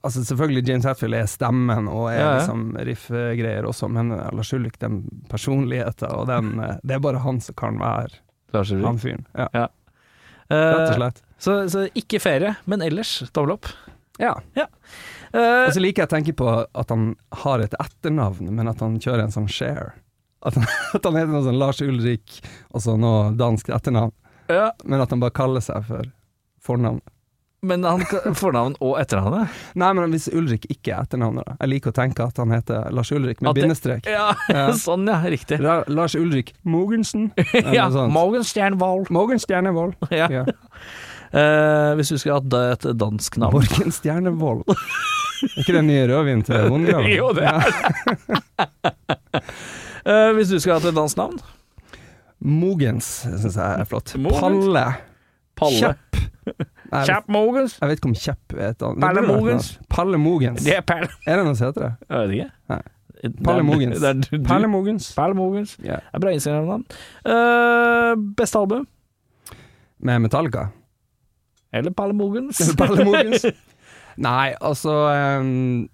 Speaker 3: Altså, selvfølgelig James Hatfield er stemmen og er
Speaker 2: Ja, ja.
Speaker 3: liksom riffgreier også, men eh, Lars Ulrik, den personligheten og den eh, Det er bare han som kan være
Speaker 2: Lars Ulrik.
Speaker 3: han fyren. Ja, rett og
Speaker 2: Eh,
Speaker 3: slett.
Speaker 2: så, så ikke ferie, men ellers tommel opp.
Speaker 3: Ja.
Speaker 2: Eh,
Speaker 3: Og så liker jeg å tenke på at han har et etternavn, men at han kjører en sånn share. At han, at han heter noe sånn Lars Ulrik og så noe dansk etternavn,
Speaker 2: ja,
Speaker 3: men at han bare kaller seg for fornavn.
Speaker 2: men han kan- fornavn og etternavnet?
Speaker 3: Nei, men hvis Ulrik ikke er etternavnet, da. Jeg liker å tenke at han heter Lars Ulrik med
Speaker 2: At det-
Speaker 3: bindestrek.
Speaker 2: Ja,
Speaker 3: Ja.
Speaker 2: sånn ja, riktig.
Speaker 3: Ra Lars Ulrik Mogensen. eller
Speaker 2: Ja,
Speaker 3: noe sånt.
Speaker 2: Morgan Stjernvold.
Speaker 3: Morgen Stjernevold.
Speaker 2: Ja.
Speaker 3: Ja.
Speaker 2: Eh, hvis du skulle hatt det- et dansk navn
Speaker 3: Morgen Stjernevold. Er ikke den nye rødvinen til Vongraven?
Speaker 2: Jo, det er det. Eh, hvis du skulle hatt et dansk navn?
Speaker 3: Mogens syns jeg er flott.
Speaker 2: Mogens?
Speaker 3: Palle.
Speaker 2: Kjapp.
Speaker 3: Kjepp. Nei, jeg vet-
Speaker 2: Kjapp Mogens.
Speaker 3: Jeg vet ikke om Kjepp er et annet.
Speaker 2: Palle
Speaker 3: Det burde vært
Speaker 2: Mogens.
Speaker 3: noe. Palle Mogens.
Speaker 2: Det er Perle
Speaker 3: Er det noe som heter det?
Speaker 2: Jeg vet ikke.
Speaker 3: Nei.
Speaker 2: Det er-
Speaker 3: Palle Mogens.
Speaker 2: Det er du. du-
Speaker 3: Palle Mogens.
Speaker 2: Perle Mogens.
Speaker 3: Ja.
Speaker 2: Det er bra Instagram-navn. Eh, beste album?
Speaker 3: Med Metallica.
Speaker 2: Eller Perle Mogens?
Speaker 3: Palle Mogens. Nei, altså em,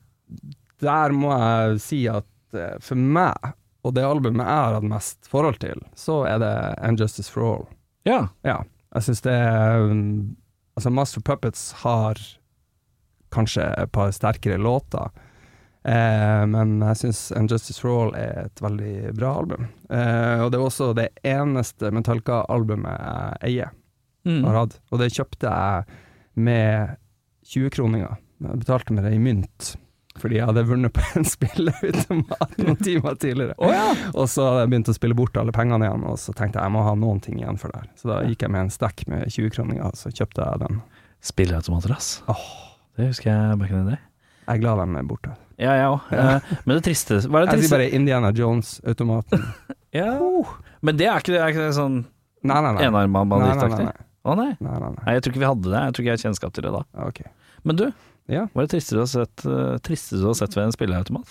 Speaker 3: Der må jeg si at eh, for meg, og det albumet jeg har hatt mest forhold til, så er det And Justice for All.
Speaker 2: ja.
Speaker 3: Ja. Jeg syns det er um, Altså, Master Puppets har kanskje et par sterkere låter, eh, men jeg syns And Justice for All er et veldig bra album. Eh, og det er også det eneste Metallica-albumet jeg eier
Speaker 2: Mm.
Speaker 3: har hatt. Og det kjøpte jeg med 20-kroninger. Jeg betalte med det i mynt, fordi jeg hadde vunnet på en spilleautomat noen timer tidligere.
Speaker 2: Å ja.
Speaker 3: Og så hadde jeg begynt å spille bort alle pengene igjen, og så tenkte jeg jeg må ha noen ting igjen for det her. Så da gikk jeg med en stekk med 20-kroninger, og så kjøpte jeg den.
Speaker 2: Spilleautomater, ass.
Speaker 3: Åh,
Speaker 2: Det husker jeg back in the day.
Speaker 3: jeg er glad de er borte.
Speaker 2: Ja, jeg òg. men det triste Hva er det
Speaker 3: Jeg sier
Speaker 2: triste?
Speaker 3: bare Indiana Jones-automaten.
Speaker 2: Ja. Men det er ikke, det er ikke sånn
Speaker 3: Nei, nei, nei.
Speaker 2: enarma
Speaker 3: Nei, nei, nei,
Speaker 2: banditt-aktig?
Speaker 3: nei.
Speaker 2: Å nei.
Speaker 3: nei, nei, nei.
Speaker 2: Nei, jeg tror ikke vi hadde det. Jeg tror ikke jeg har kjennskap til det da.
Speaker 3: Ok.
Speaker 2: Men du,
Speaker 3: Ja.
Speaker 2: hva er det triste du har sett, eh, triste du har sett ved en spilleautomat?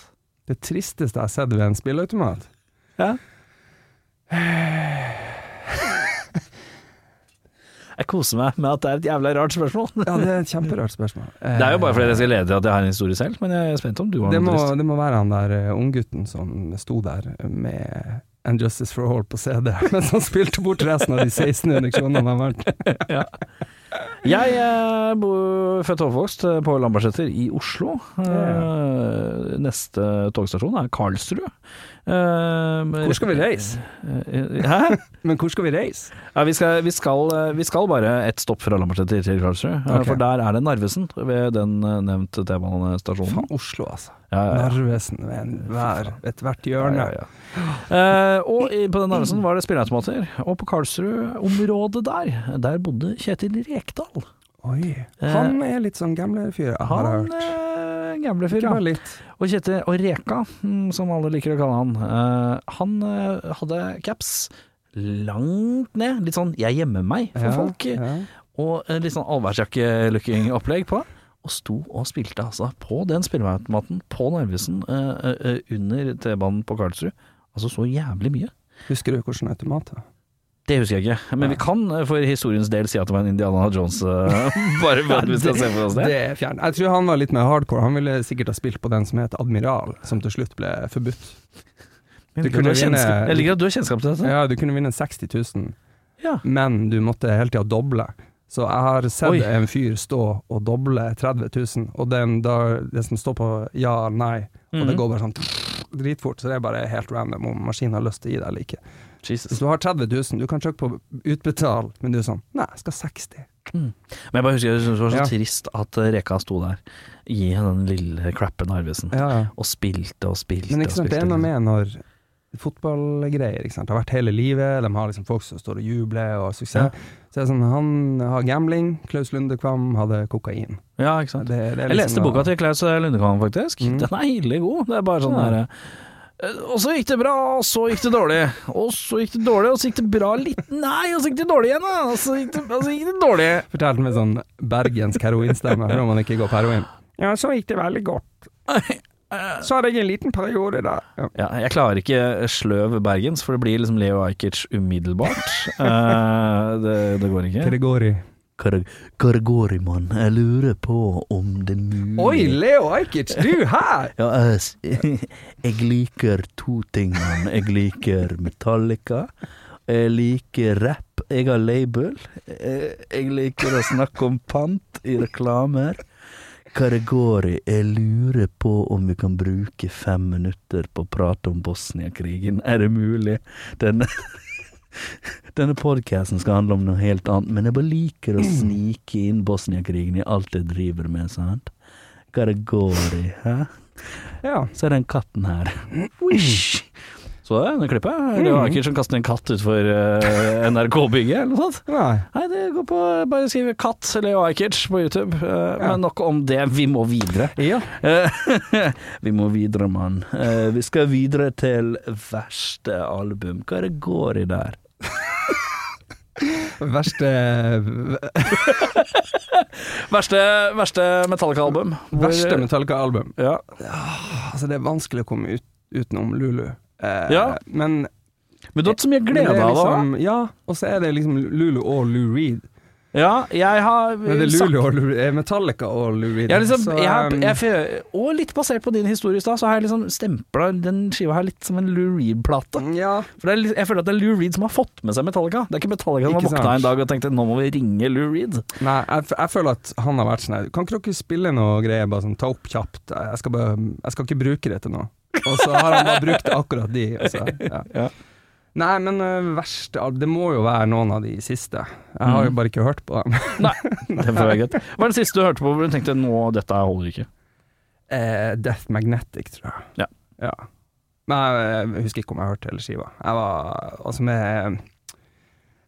Speaker 3: Det tristeste jeg har sett ved en spilleautomat
Speaker 2: Ja. Jeg koser meg med at det er et jævla rart spørsmål.
Speaker 3: Ja, det er et kjemperart spørsmål.
Speaker 2: Det er jo bare fordi jeg skal lede at jeg har en historie selv, men jeg er spent om du har
Speaker 3: det
Speaker 2: noe
Speaker 3: må,
Speaker 2: trist.
Speaker 3: det må være han der eh, unggutten som sto der med And Justice for All på CD, mens han spilte bort resten av de 1600 kronene han vant.
Speaker 2: Jeg er bo- født og oppvokst eh, på Lambertseter i Oslo. Eh, Neste togstasjon er Karlsrud. Hvor
Speaker 3: reise?
Speaker 2: eh, Hæ?
Speaker 3: Men hvor skal vi reise?
Speaker 2: Ja, vi, skal, vi, skal, eh, vi skal bare ett stopp fra Lambertseter til Karlsrud, eh,
Speaker 3: Ok.
Speaker 2: for der er det Narvesen ved den eh, nevnte T-banestasjonen.
Speaker 3: Faen, Oslo, altså.
Speaker 2: Ja, ja, ja.
Speaker 3: Narvesen ved en hver, et hvert
Speaker 2: Ja,
Speaker 3: hjørne.
Speaker 2: ja, ja. Eh, og i- på den Narvesen var det spilleautomater, og på Karlsrud-området der, der bodde Kjetil Rekdal.
Speaker 3: Oi.
Speaker 2: Eh,
Speaker 3: Han er litt sånn gamlefyr, jeg har
Speaker 2: Han
Speaker 3: hørt.
Speaker 2: eh, gamle fyr, ja.
Speaker 3: Ikke bare litt.
Speaker 2: Og Kjetil og Reka, mm, som alle liker å kalle han, eh, han eh, hadde caps langt ned, litt sånn 'jeg gjemmer meg' for
Speaker 3: Ja,
Speaker 2: folk.
Speaker 3: ja.
Speaker 2: og en litt sånn allværsjakke-looking opplegg på. Og sto og spilte altså på den spilleautomaten på Narvesen eh, eh, eh, under T-banen på Karlsrud. Altså så jævlig mye.
Speaker 3: Husker du hvilken automat det var?
Speaker 2: Det husker jeg ikke, men vi kan eh, for historiens del si at det var en Indiana Jones, eh, bare for at vi skal se for oss det.
Speaker 3: Det er fjernt. Jeg tror han var litt mer hardcore. Han ville sikkert ha spilt på den som het Admiral, som til slutt ble forbudt.
Speaker 2: Jeg liker
Speaker 3: du
Speaker 2: at
Speaker 3: kunne
Speaker 2: du har kjennskap-
Speaker 3: vinne-
Speaker 2: Jeg liker at du har kjennskap til dette.
Speaker 3: Ja, du kunne vinne 60 000.
Speaker 2: Ja.
Speaker 3: men du måtte hele tida doble. Så jeg har sett
Speaker 2: Oi.
Speaker 3: en fyr stå og doble 30 000, og den, da, det som står på ja eller nei, og det
Speaker 2: Mhm.
Speaker 3: går bare sånn dritfort, så det er bare helt random om maskinen har lyst til å gi deg eller ikke. Hvis
Speaker 2: Jesus.
Speaker 3: du har 30 000, du kan trykke på utbetal, men du er sånn Nei, jeg skal 60.
Speaker 2: Men jeg bare husker jeg syntes det var så
Speaker 3: Ja.
Speaker 2: trist at eh, Reka sto der i den lille crappen Arvesen
Speaker 3: Ja, ja.
Speaker 2: og spilte og spilte
Speaker 3: Men ikke sant,
Speaker 2: og
Speaker 3: det
Speaker 2: spilte.
Speaker 3: er noe med når fotballgreier ikke sant? Det har vært hele livet, de har liksom folk som står og jubler og suksess. Så det er sånn, Han har gambling, Klaus Lundekvam hadde kokain.
Speaker 2: Ja, ikke sant.
Speaker 3: Det, det er
Speaker 2: Jeg leste
Speaker 3: liksom
Speaker 2: boka til Klaus Lundekvam, faktisk.
Speaker 3: Mm.
Speaker 2: Den er ille god. Det er bare sånn
Speaker 3: Ja.
Speaker 2: der eh, Og så gikk det bra, og så gikk det dårlig. Og så gikk det dårlig, og så gikk det bra litt Nei, og så gikk det dårlig igjen, da. Og så gikk det, og så gikk det dårlig.
Speaker 3: Fortalte med sånn bergensk heroinstemme, når man ikke går på heroin. Ja, så gikk det veldig godt. Så hadde jeg en liten periode der. Ja.
Speaker 2: Ja, jeg klarer ikke sløv bergens, for det blir liksom Leo Ajkic umiddelbart. Eh, det, det går ikke.
Speaker 3: Gregori.
Speaker 4: Karagorimann, jeg lurer på om det er mulig
Speaker 3: Oi, Leo Ajkic, du her!
Speaker 4: Ja, jeg, s- jeg liker to ting, mann. Jeg liker Metallica. Jeg liker rap. Jeg har label. Eh, Jeg liker å snakke om pant i reklamer. Karagori, jeg lurer på om vi kan bruke fem minutter på å prate om Bosnia-krigen. Er det mulig? Denne, denne podkasten skal handle om noe helt annet, men jeg bare liker å snike inn Bosnia-krigen i alt jeg driver med, sant? Karagori, hæ?
Speaker 3: Ja.
Speaker 4: Så er den katten her.
Speaker 2: Så det, det klippet. Leo
Speaker 3: Mm.
Speaker 2: Ajkic som kaster en katt utfor uh, NRK-bygget, eller noe sånt.
Speaker 3: Nei.
Speaker 2: Nei, det går på Bare skriv 'katt' Leo Ajkic på YouTube. Eh, Men nok om det, vi må videre.
Speaker 3: Ja.
Speaker 4: Eh, vi må videre, mann. Eh, vi skal videre til verste album. Hva er det går i der?
Speaker 3: Verste
Speaker 2: Verste, verste Metallica-album. Hvor-
Speaker 3: Verste Metallica-album.
Speaker 2: Ja.
Speaker 3: Altså, det er vanskelig å komme ut, utenom Lulu. Eh,
Speaker 2: Ja.
Speaker 3: Men
Speaker 2: Men du har hatt så mye
Speaker 3: men det
Speaker 2: glede
Speaker 3: er
Speaker 2: av det.
Speaker 3: liksom, Ja, og så er det liksom Lulu og Lou Reed.
Speaker 2: da. Ja, jeg har eh,
Speaker 3: Men det er
Speaker 2: sagt-
Speaker 3: Lulu og Lou eh, Metallica og Lou Reed.
Speaker 2: Jeg har liksom,
Speaker 3: Så,
Speaker 2: jeg har,
Speaker 3: um,
Speaker 2: jeg, fø- og litt basert på din historie i stad, så har jeg liksom stempla den skiva her litt som en Lou Reed-plate.
Speaker 3: ja.
Speaker 2: For det er, litt- Jeg føler at det er Lou Reed som har fått med seg Metallica. Det er ikke Metallica som har
Speaker 3: Ikke sant.
Speaker 2: våkna en dag og tenkte 'nå må vi ringe Lou Reed'.
Speaker 3: Nei, jeg, f- jeg føler at han har vært sånn her Kan ikke dere spille noe greier, bare sånn ta opp kjapt? Jeg skal, bare, jeg skal ikke bruke det til noe. Og så har han bare brukt akkurat de. og så- ja.
Speaker 2: Ja.
Speaker 3: Nei, men uh, verst al- Det må jo være noen av de siste. Jeg har jo bare ikke hørt på dem.
Speaker 2: Nei, det får være greit. Hva er det siste du hørte på hvor du tenkte 'nå, dette holder ikke'?
Speaker 3: Eh, Death Magnetic, tror jeg.
Speaker 2: Ja.
Speaker 3: Men jeg husker ikke om jeg hørte hele skiva. Jeg var altså med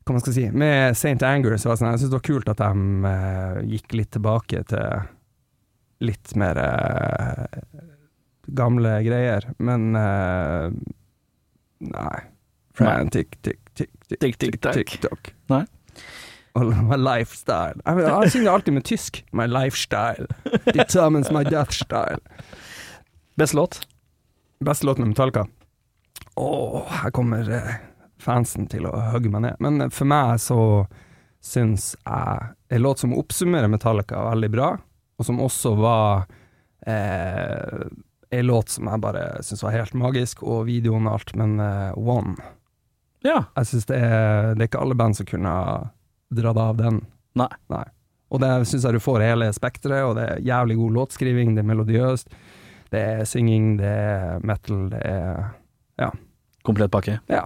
Speaker 3: Hva man skal si Med St. Anger så var det sånn, jeg syntes det var kult at de eh, gikk litt tilbake til litt mer eh, gamle greier, men eh, Nei.
Speaker 2: Nei.
Speaker 3: Frantic, tick, tick, tick,
Speaker 2: Tick, tick, tack.
Speaker 3: tock.
Speaker 2: Nei.
Speaker 3: Og My lifestyle. Jeg, vet- jeg synger alltid med tysk. My lifestyle. Determines my death style.
Speaker 2: Beste låt?
Speaker 3: Beste låt med Metallica? Åh, her kommer eh, fansen til å hugge meg ned. Men eh, for meg så syns jeg en låt som oppsummerer Metallica veldig bra, og som også var eh, en låt som jeg bare syns var helt magisk, og videoen og alt, men eh, One
Speaker 2: Ja.
Speaker 3: Jeg syns det er Det er ikke alle band som kunne ha dratt av den.
Speaker 2: Nei.
Speaker 3: Og der syns jeg du får hele spekteret, og det er jævlig god låtskriving, det er melodiøst, det er synging, det er metal, det er
Speaker 2: Komplett pakke.
Speaker 3: Ja.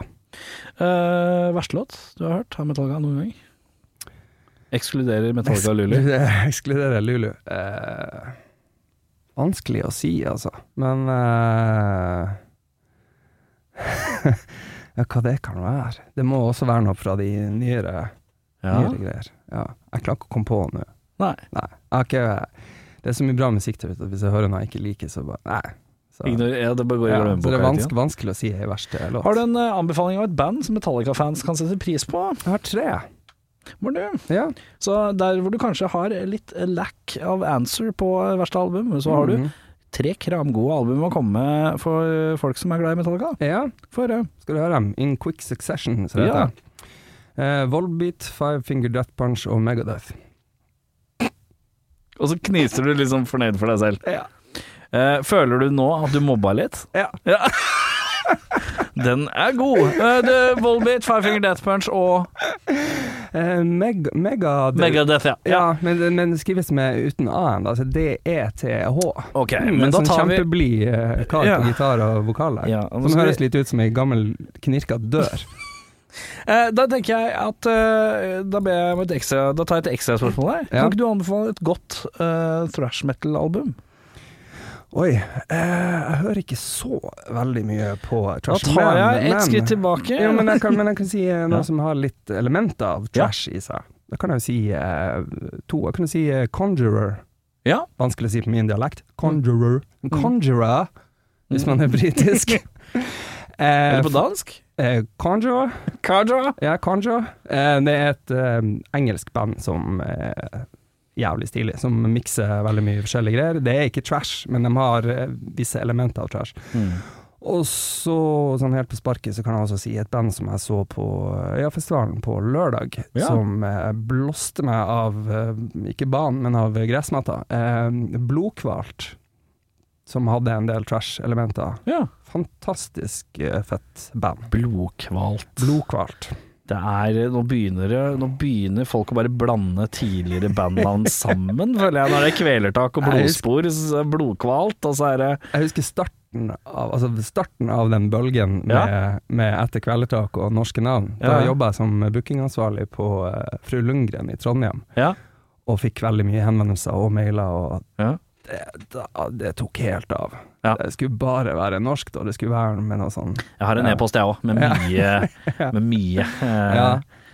Speaker 2: Eh, verste låt du har hørt av Metallica noen gang? Ekskluderer Metallica Lulu.
Speaker 3: Ekskluderer Lulu. Eh, vanskelig å si, altså. Men eh, Ja, hva det kan være? Det må også være noe fra de nyere,
Speaker 2: Ja.
Speaker 3: nyere greier. Ja. Jeg klarer ikke å komme på nå.
Speaker 2: Nei.
Speaker 3: Nei. Jeg har ikke, det er så mye bra musikk der ute, at hvis jeg hører noe jeg ikke liker, så bare Nei. Så,
Speaker 2: Ignorer, ja, det bare går i
Speaker 3: ja, så
Speaker 2: glemmeboka
Speaker 3: det er
Speaker 2: hele tiden.
Speaker 3: vanskelig, vanskelig å si ei verste låt.
Speaker 2: Har du en eh, anbefaling av et band som Metallica-fans kan sette pris på?
Speaker 3: Jeg har tre.
Speaker 2: Mordu?
Speaker 3: Ja.
Speaker 2: Så der hvor du kanskje har litt lack av answer på eh, verste album, så har du
Speaker 3: Mhm.
Speaker 2: tre kramgode album å komme med for eh, folk som er glad i Metallica.
Speaker 3: Ja.
Speaker 2: For, eh,
Speaker 3: Skal du høre dem? In Quick Succession, så det
Speaker 2: Ja.
Speaker 3: heter. Eh, Volbeat, Five Finger Death Punch og Megadeth.
Speaker 2: og så kniser du liksom fornøyd for deg selv. Eh, føler du nå at du mobba litt?
Speaker 3: Ja.
Speaker 2: Den er god. Eh, det- Volbeat, Five Finger Death Punch og
Speaker 3: Eh, meg, mega,
Speaker 4: Megadeth, ja.
Speaker 3: Ja, men, men det skrives med uten A-en, altså D-E-T-H.
Speaker 5: Ok,
Speaker 3: Mm,
Speaker 5: men
Speaker 3: en
Speaker 5: da
Speaker 3: sånn
Speaker 5: tar vi
Speaker 3: kjempeblid eh, kar
Speaker 5: Ja.
Speaker 3: på gitar og vokal der.
Speaker 2: Ja, og nå
Speaker 3: som
Speaker 2: skal
Speaker 3: høres
Speaker 2: vi-
Speaker 3: litt ut som ei gammel knirka dør.
Speaker 2: Eh, da tenker jeg at eh, da, ber jeg om et ekstra, da tar jeg et ekstraspørsmål her.
Speaker 3: Ja.
Speaker 2: Kan ikke du anbefale et godt eh, thrash metal-album?
Speaker 3: Oi, eh, jeg hører ikke så veldig mye på
Speaker 2: Da
Speaker 3: trash.
Speaker 2: tar jeg
Speaker 3: men-
Speaker 2: et skritt tilbake.
Speaker 3: Ja, men jeg kan, men jeg kan si eh, noe
Speaker 2: Ja.
Speaker 3: som har litt elementer av trash i seg. Da kan jeg jo si eh, to. Jeg kunne si eh, Conjurer.
Speaker 2: Ja.
Speaker 3: Vanskelig å si på min dialekt. Conjurer. Conjurer, hvis man er britisk. eh,
Speaker 2: Eller på dansk?
Speaker 3: eh, Conjurer. Ja, Conjurer. Eh, det er et eh, engelsk band som eh, Jævlig stilig, som mikser veldig mye forskjellige greier. Det er ikke trash, men de har eh, visse elementer av trash. Og så, sånn helt på sparket, så kan jeg også si et band som jeg så på Øyafestivalen på lørdag,
Speaker 2: Ja.
Speaker 3: som eh, blåste meg av, eh, ikke banen, men av gressmatta. Eh, Blodkvalt, som hadde en del trash-elementer.
Speaker 2: Ja.
Speaker 3: Fantastisk eh, fett band.
Speaker 2: Blodkvalt.
Speaker 3: Blodkvalt.
Speaker 2: Det er, eh, nå, begynner det, nå begynner folk å bare blande tidligere bandnavn sammen, føler jeg. Når det er kvelertak og
Speaker 3: Nei, jeg
Speaker 2: blodspor, så er det blodkvalt, og så er det
Speaker 3: Jeg husker starten av, altså starten av den bølgen med, med Etter kvelertak og norske navn. Da
Speaker 2: Ja.
Speaker 3: jobba jeg som bookingansvarlig på eh, Fru Lundgren i Trondheim.
Speaker 2: Ja.
Speaker 3: og fikk veldig mye henvendelser og mailer, og
Speaker 2: Ja.
Speaker 3: det, da, det tok helt av.
Speaker 2: Ja.
Speaker 3: Det skulle bare være norsk, og det skulle være med noe sånn
Speaker 2: Jeg har en
Speaker 3: Ja.
Speaker 2: e-post, jeg òg, med mye. Med mye eh,
Speaker 3: ja.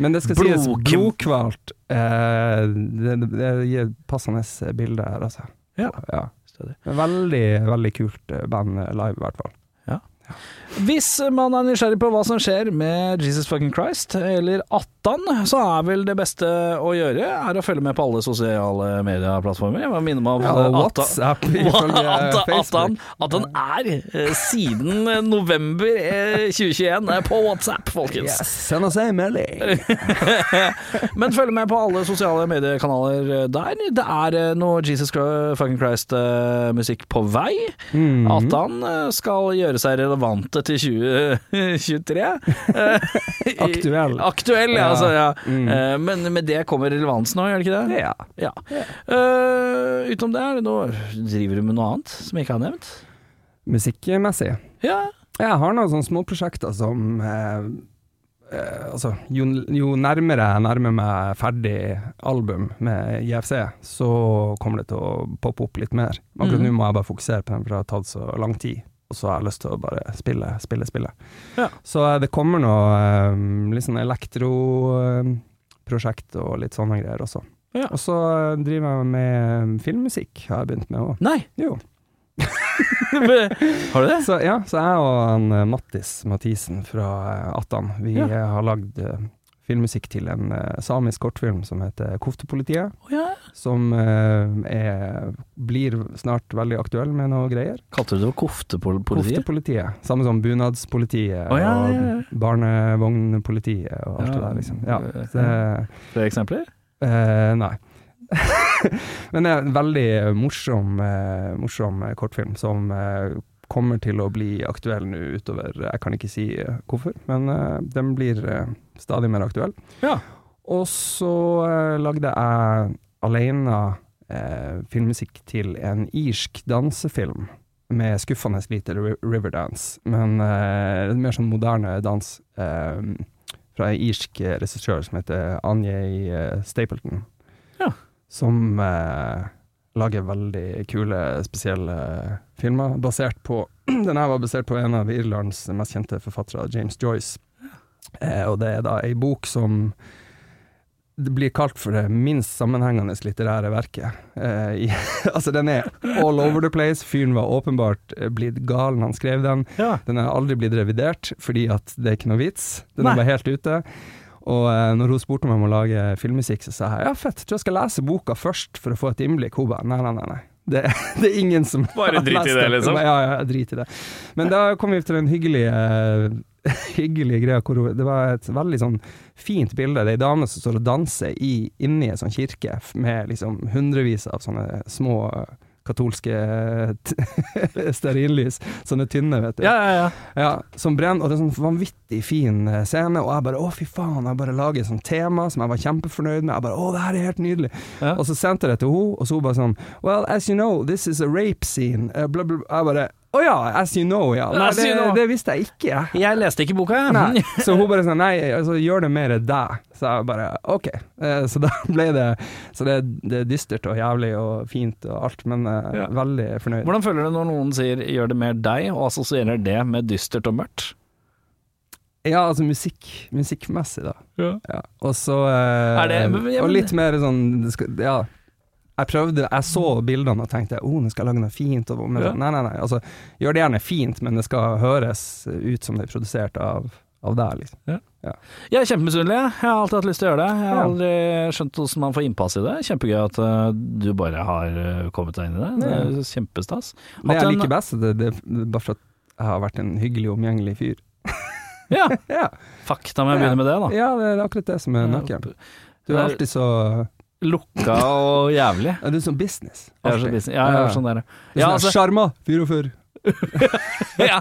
Speaker 3: Men det skal sies
Speaker 2: Blodkv-
Speaker 3: blodkvalt. Eh, det, det gir et passende bilde her, altså.
Speaker 2: Ja.
Speaker 3: Ja.
Speaker 2: steder.
Speaker 3: Men Veldig, veldig kult eh, band eh, live, i hvert fall.
Speaker 2: Hvis man er nysgjerrig på hva som skjer med Jesus fucking Christ, eller Attan, så er vel det beste å gjøre er å følge med på alle sosiale medieplattformer. Jeg bare minner meg om
Speaker 3: Ja,
Speaker 2: eh,
Speaker 3: og
Speaker 2: Attan.
Speaker 3: WhatsApp ifølge
Speaker 2: At, at, han,
Speaker 3: Facebook.
Speaker 2: at han er, eh, siden eh, november eh, 2021, eh, på WhatsApp, folkens.
Speaker 3: Yes, send oss ei melding!
Speaker 2: Men følg med på alle sosiale mediekanaler eh, der. Det er eh, noe Jesus Christ, fucking Christ-musikk på vei.
Speaker 3: Mm.
Speaker 2: At han eh, skal gjøre seg relevante til 2023. Eh, i-
Speaker 3: Aktuell.
Speaker 2: Aktuell, ja.
Speaker 3: Ja.
Speaker 2: Altså, ja.
Speaker 3: Mm.
Speaker 2: Eh, Men med det kommer relevansen òg, gjør det ikke det?
Speaker 3: Ja.
Speaker 2: Ja. Eh, utenom det, er det noe Driver du med noe annet som jeg ikke har nevnt?
Speaker 3: Musikkmessig.
Speaker 2: Ja.
Speaker 3: Jeg har noen sånne småprosjekter som eh, eh, Altså, jo, jo nærmere jeg nærmer meg ferdig album med JFC, så kommer det til å poppe opp litt mer. Akkurat
Speaker 2: Mhm.
Speaker 3: nå må jeg bare fokusere på den, for det har tatt så lang tid. Og så har jeg lyst til å bare spille, spille, spille.
Speaker 2: Ja.
Speaker 3: Så eh, det kommer noe eh, litt sånn elektroprosjekt og litt sånne greier også.
Speaker 2: Ja.
Speaker 3: Og så eh, driver jeg med filmmusikk, har jeg begynt med òg.
Speaker 2: Nei.
Speaker 3: Jo.
Speaker 2: har du det?
Speaker 3: Så, ja, så jeg og han eh, Mattis Mathisen fra eh, Attan, vi
Speaker 2: Ja.
Speaker 3: eh, har lagd eh, filmmusikk til en eh, samisk kortfilm som heter Koftepolitiet,
Speaker 2: Å ja.
Speaker 3: som eh, er, blir snart veldig aktuell med noe greier.
Speaker 2: Kalte du det for koftepolitiet?
Speaker 3: Koftepolitiet, samme som bunadspolitiet
Speaker 2: Å, ja, ja, ja.
Speaker 3: og barnevognpolitiet og alt
Speaker 2: Ja.
Speaker 3: det der, liksom. Ja, så,
Speaker 2: Eh, Flere eksempler?
Speaker 3: eh, nei. Men det er en veldig morsom, eh, morsom eh, kortfilm som eh, kommer til å bli aktuell nå utover Jeg kan ikke si eh, hvorfor, men eh, den blir eh, stadig mer aktuell.
Speaker 2: Ja.
Speaker 3: Og så eh, lagde jeg alene eh, filmmusikk til en irsk dansefilm med skuffende lite ri- Riverdance, men eh, en mer sånn moderne dans. Eh, fra en irsk eh, regissør som heter Anjei eh, Stapleton,
Speaker 2: Ja.
Speaker 3: som eh, lager veldig kule, spesielle filmer, basert på Den her var basert på en av Irlands mest kjente forfattere, James Joyce. Eh, og det er da ei bok som det blir kalt for det minst sammenhengende litterære verket. Eh, i, altså, den er all over the place. Fyren var åpenbart eh, blitt gal når han skrev den.
Speaker 2: Ja.
Speaker 3: Den er aldri blitt revidert, fordi at det er ikke noe vits. Den
Speaker 2: Nei.
Speaker 3: er bare helt ute. Og eh, når hun spurte meg om å lage filmmusikk, så sa jeg ja, fett, tror jeg skal lese boka først for å få et innblikk. Hun bare nei, nei, nei. nei. Det, det er ingen som
Speaker 2: Bare
Speaker 3: har
Speaker 2: drit i
Speaker 3: lest
Speaker 2: det, liksom.
Speaker 3: Ja, ja, jeg driter i det. Men da kom vi til den hyggelige eh, hyggelige greia hvor hun- det var et veldig sånn fint bilde. Det er ei dame som står og danser i, inni ei sånn kirke f- med liksom hundrevis av sånne små eh, katolske eh, t- stearinlys, sånne tynne, vet du.
Speaker 4: Ja, ja, ja.
Speaker 3: Ja, som brenner, og det er sånn vanvittig fin eh, scene, og jeg bare å fy faen, jeg bare lager sånn tema som jeg var kjempefornøyd med, jeg bare å det her er helt nydelig.
Speaker 4: Ja.
Speaker 3: Og så sendte jeg det til henne, og så hun bare sånn well, as you know, this is a rape scene, eh, bla bla, bla. jeg bare å ja, as you know, ja. Nei,
Speaker 4: As
Speaker 3: det,
Speaker 4: you know.
Speaker 3: det visste jeg ikke, jeg.
Speaker 4: Jeg leste ikke boka, jeg.
Speaker 3: Nei. Så hun bare sånn Nei, altså, gjør det mer deg. Så jeg bare OK. Eh, Så da ble det Så det, det er dystert og jævlig og fint og alt, men eh,
Speaker 4: Ja.
Speaker 3: veldig fornøyd.
Speaker 2: Hvordan føler du når noen sier 'gjør det mer deg', og assosierer det med dystert og mørkt?
Speaker 3: Ja, altså musikk, musikkmessig, da.
Speaker 2: Ja.
Speaker 3: Og så eh,
Speaker 2: Er det- men- men-
Speaker 3: Og litt mer sånn det skal- Ja. Jeg prøvde, jeg så bildene og tenkte oh, nå skal jeg lage noe fint. Og, men,
Speaker 2: Ja.
Speaker 3: Nei, nei, nei. Altså, gjør det gjerne fint, men det skal høres ut som det er produsert av, av deg, liksom.
Speaker 2: Jeg er kjempemisunnelig. jeg. Jeg har alltid hatt lyst til å gjøre det. Jeg har
Speaker 3: Ja.
Speaker 2: aldri skjønt hvordan man får innpass i det. Kjempegøy at eh, du bare har eh, kommet deg inn i det. Det er kjempestas.
Speaker 3: Det
Speaker 2: Hatt
Speaker 3: jeg
Speaker 2: en-
Speaker 3: liker best, det, det, det er bare for at jeg har vært en hyggelig, omgjengelig fyr.
Speaker 2: Ja,
Speaker 3: Ja.
Speaker 2: fuck, da må jeg begynne med det, da.
Speaker 3: Ja, det er akkurat det som er nøkkelen. Du er alltid så
Speaker 2: Lukka og jævlig.
Speaker 3: ja, Du er sånn business.
Speaker 2: Jeg er så
Speaker 3: Alltid.
Speaker 2: busy. Ja, jeg er sånn der.
Speaker 3: Du er
Speaker 2: Ja,
Speaker 3: sånn
Speaker 2: altså-
Speaker 3: Sjarma! Fyr og fyr.
Speaker 2: ja.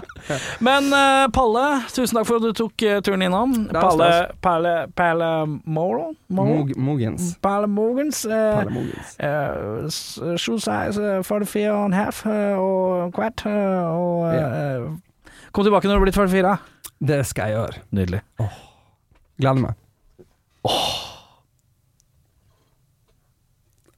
Speaker 2: Men eh, Palle, tusen takk for at du tok eh, turen innom.
Speaker 3: Det er
Speaker 2: Palle,
Speaker 3: stas.
Speaker 2: Palle, Palle Moro? Moro?
Speaker 3: Mog- Mogens.
Speaker 2: Palle Mogens. eh,
Speaker 3: Perle Mogens.
Speaker 2: eh, s- shoe size eh, 44 and a half eh, og kvart. eh, og, eh, eh, kom tilbake når du er blitt 44.
Speaker 3: Det skal jeg gjøre.
Speaker 2: Nydelig.
Speaker 3: Gleder meg.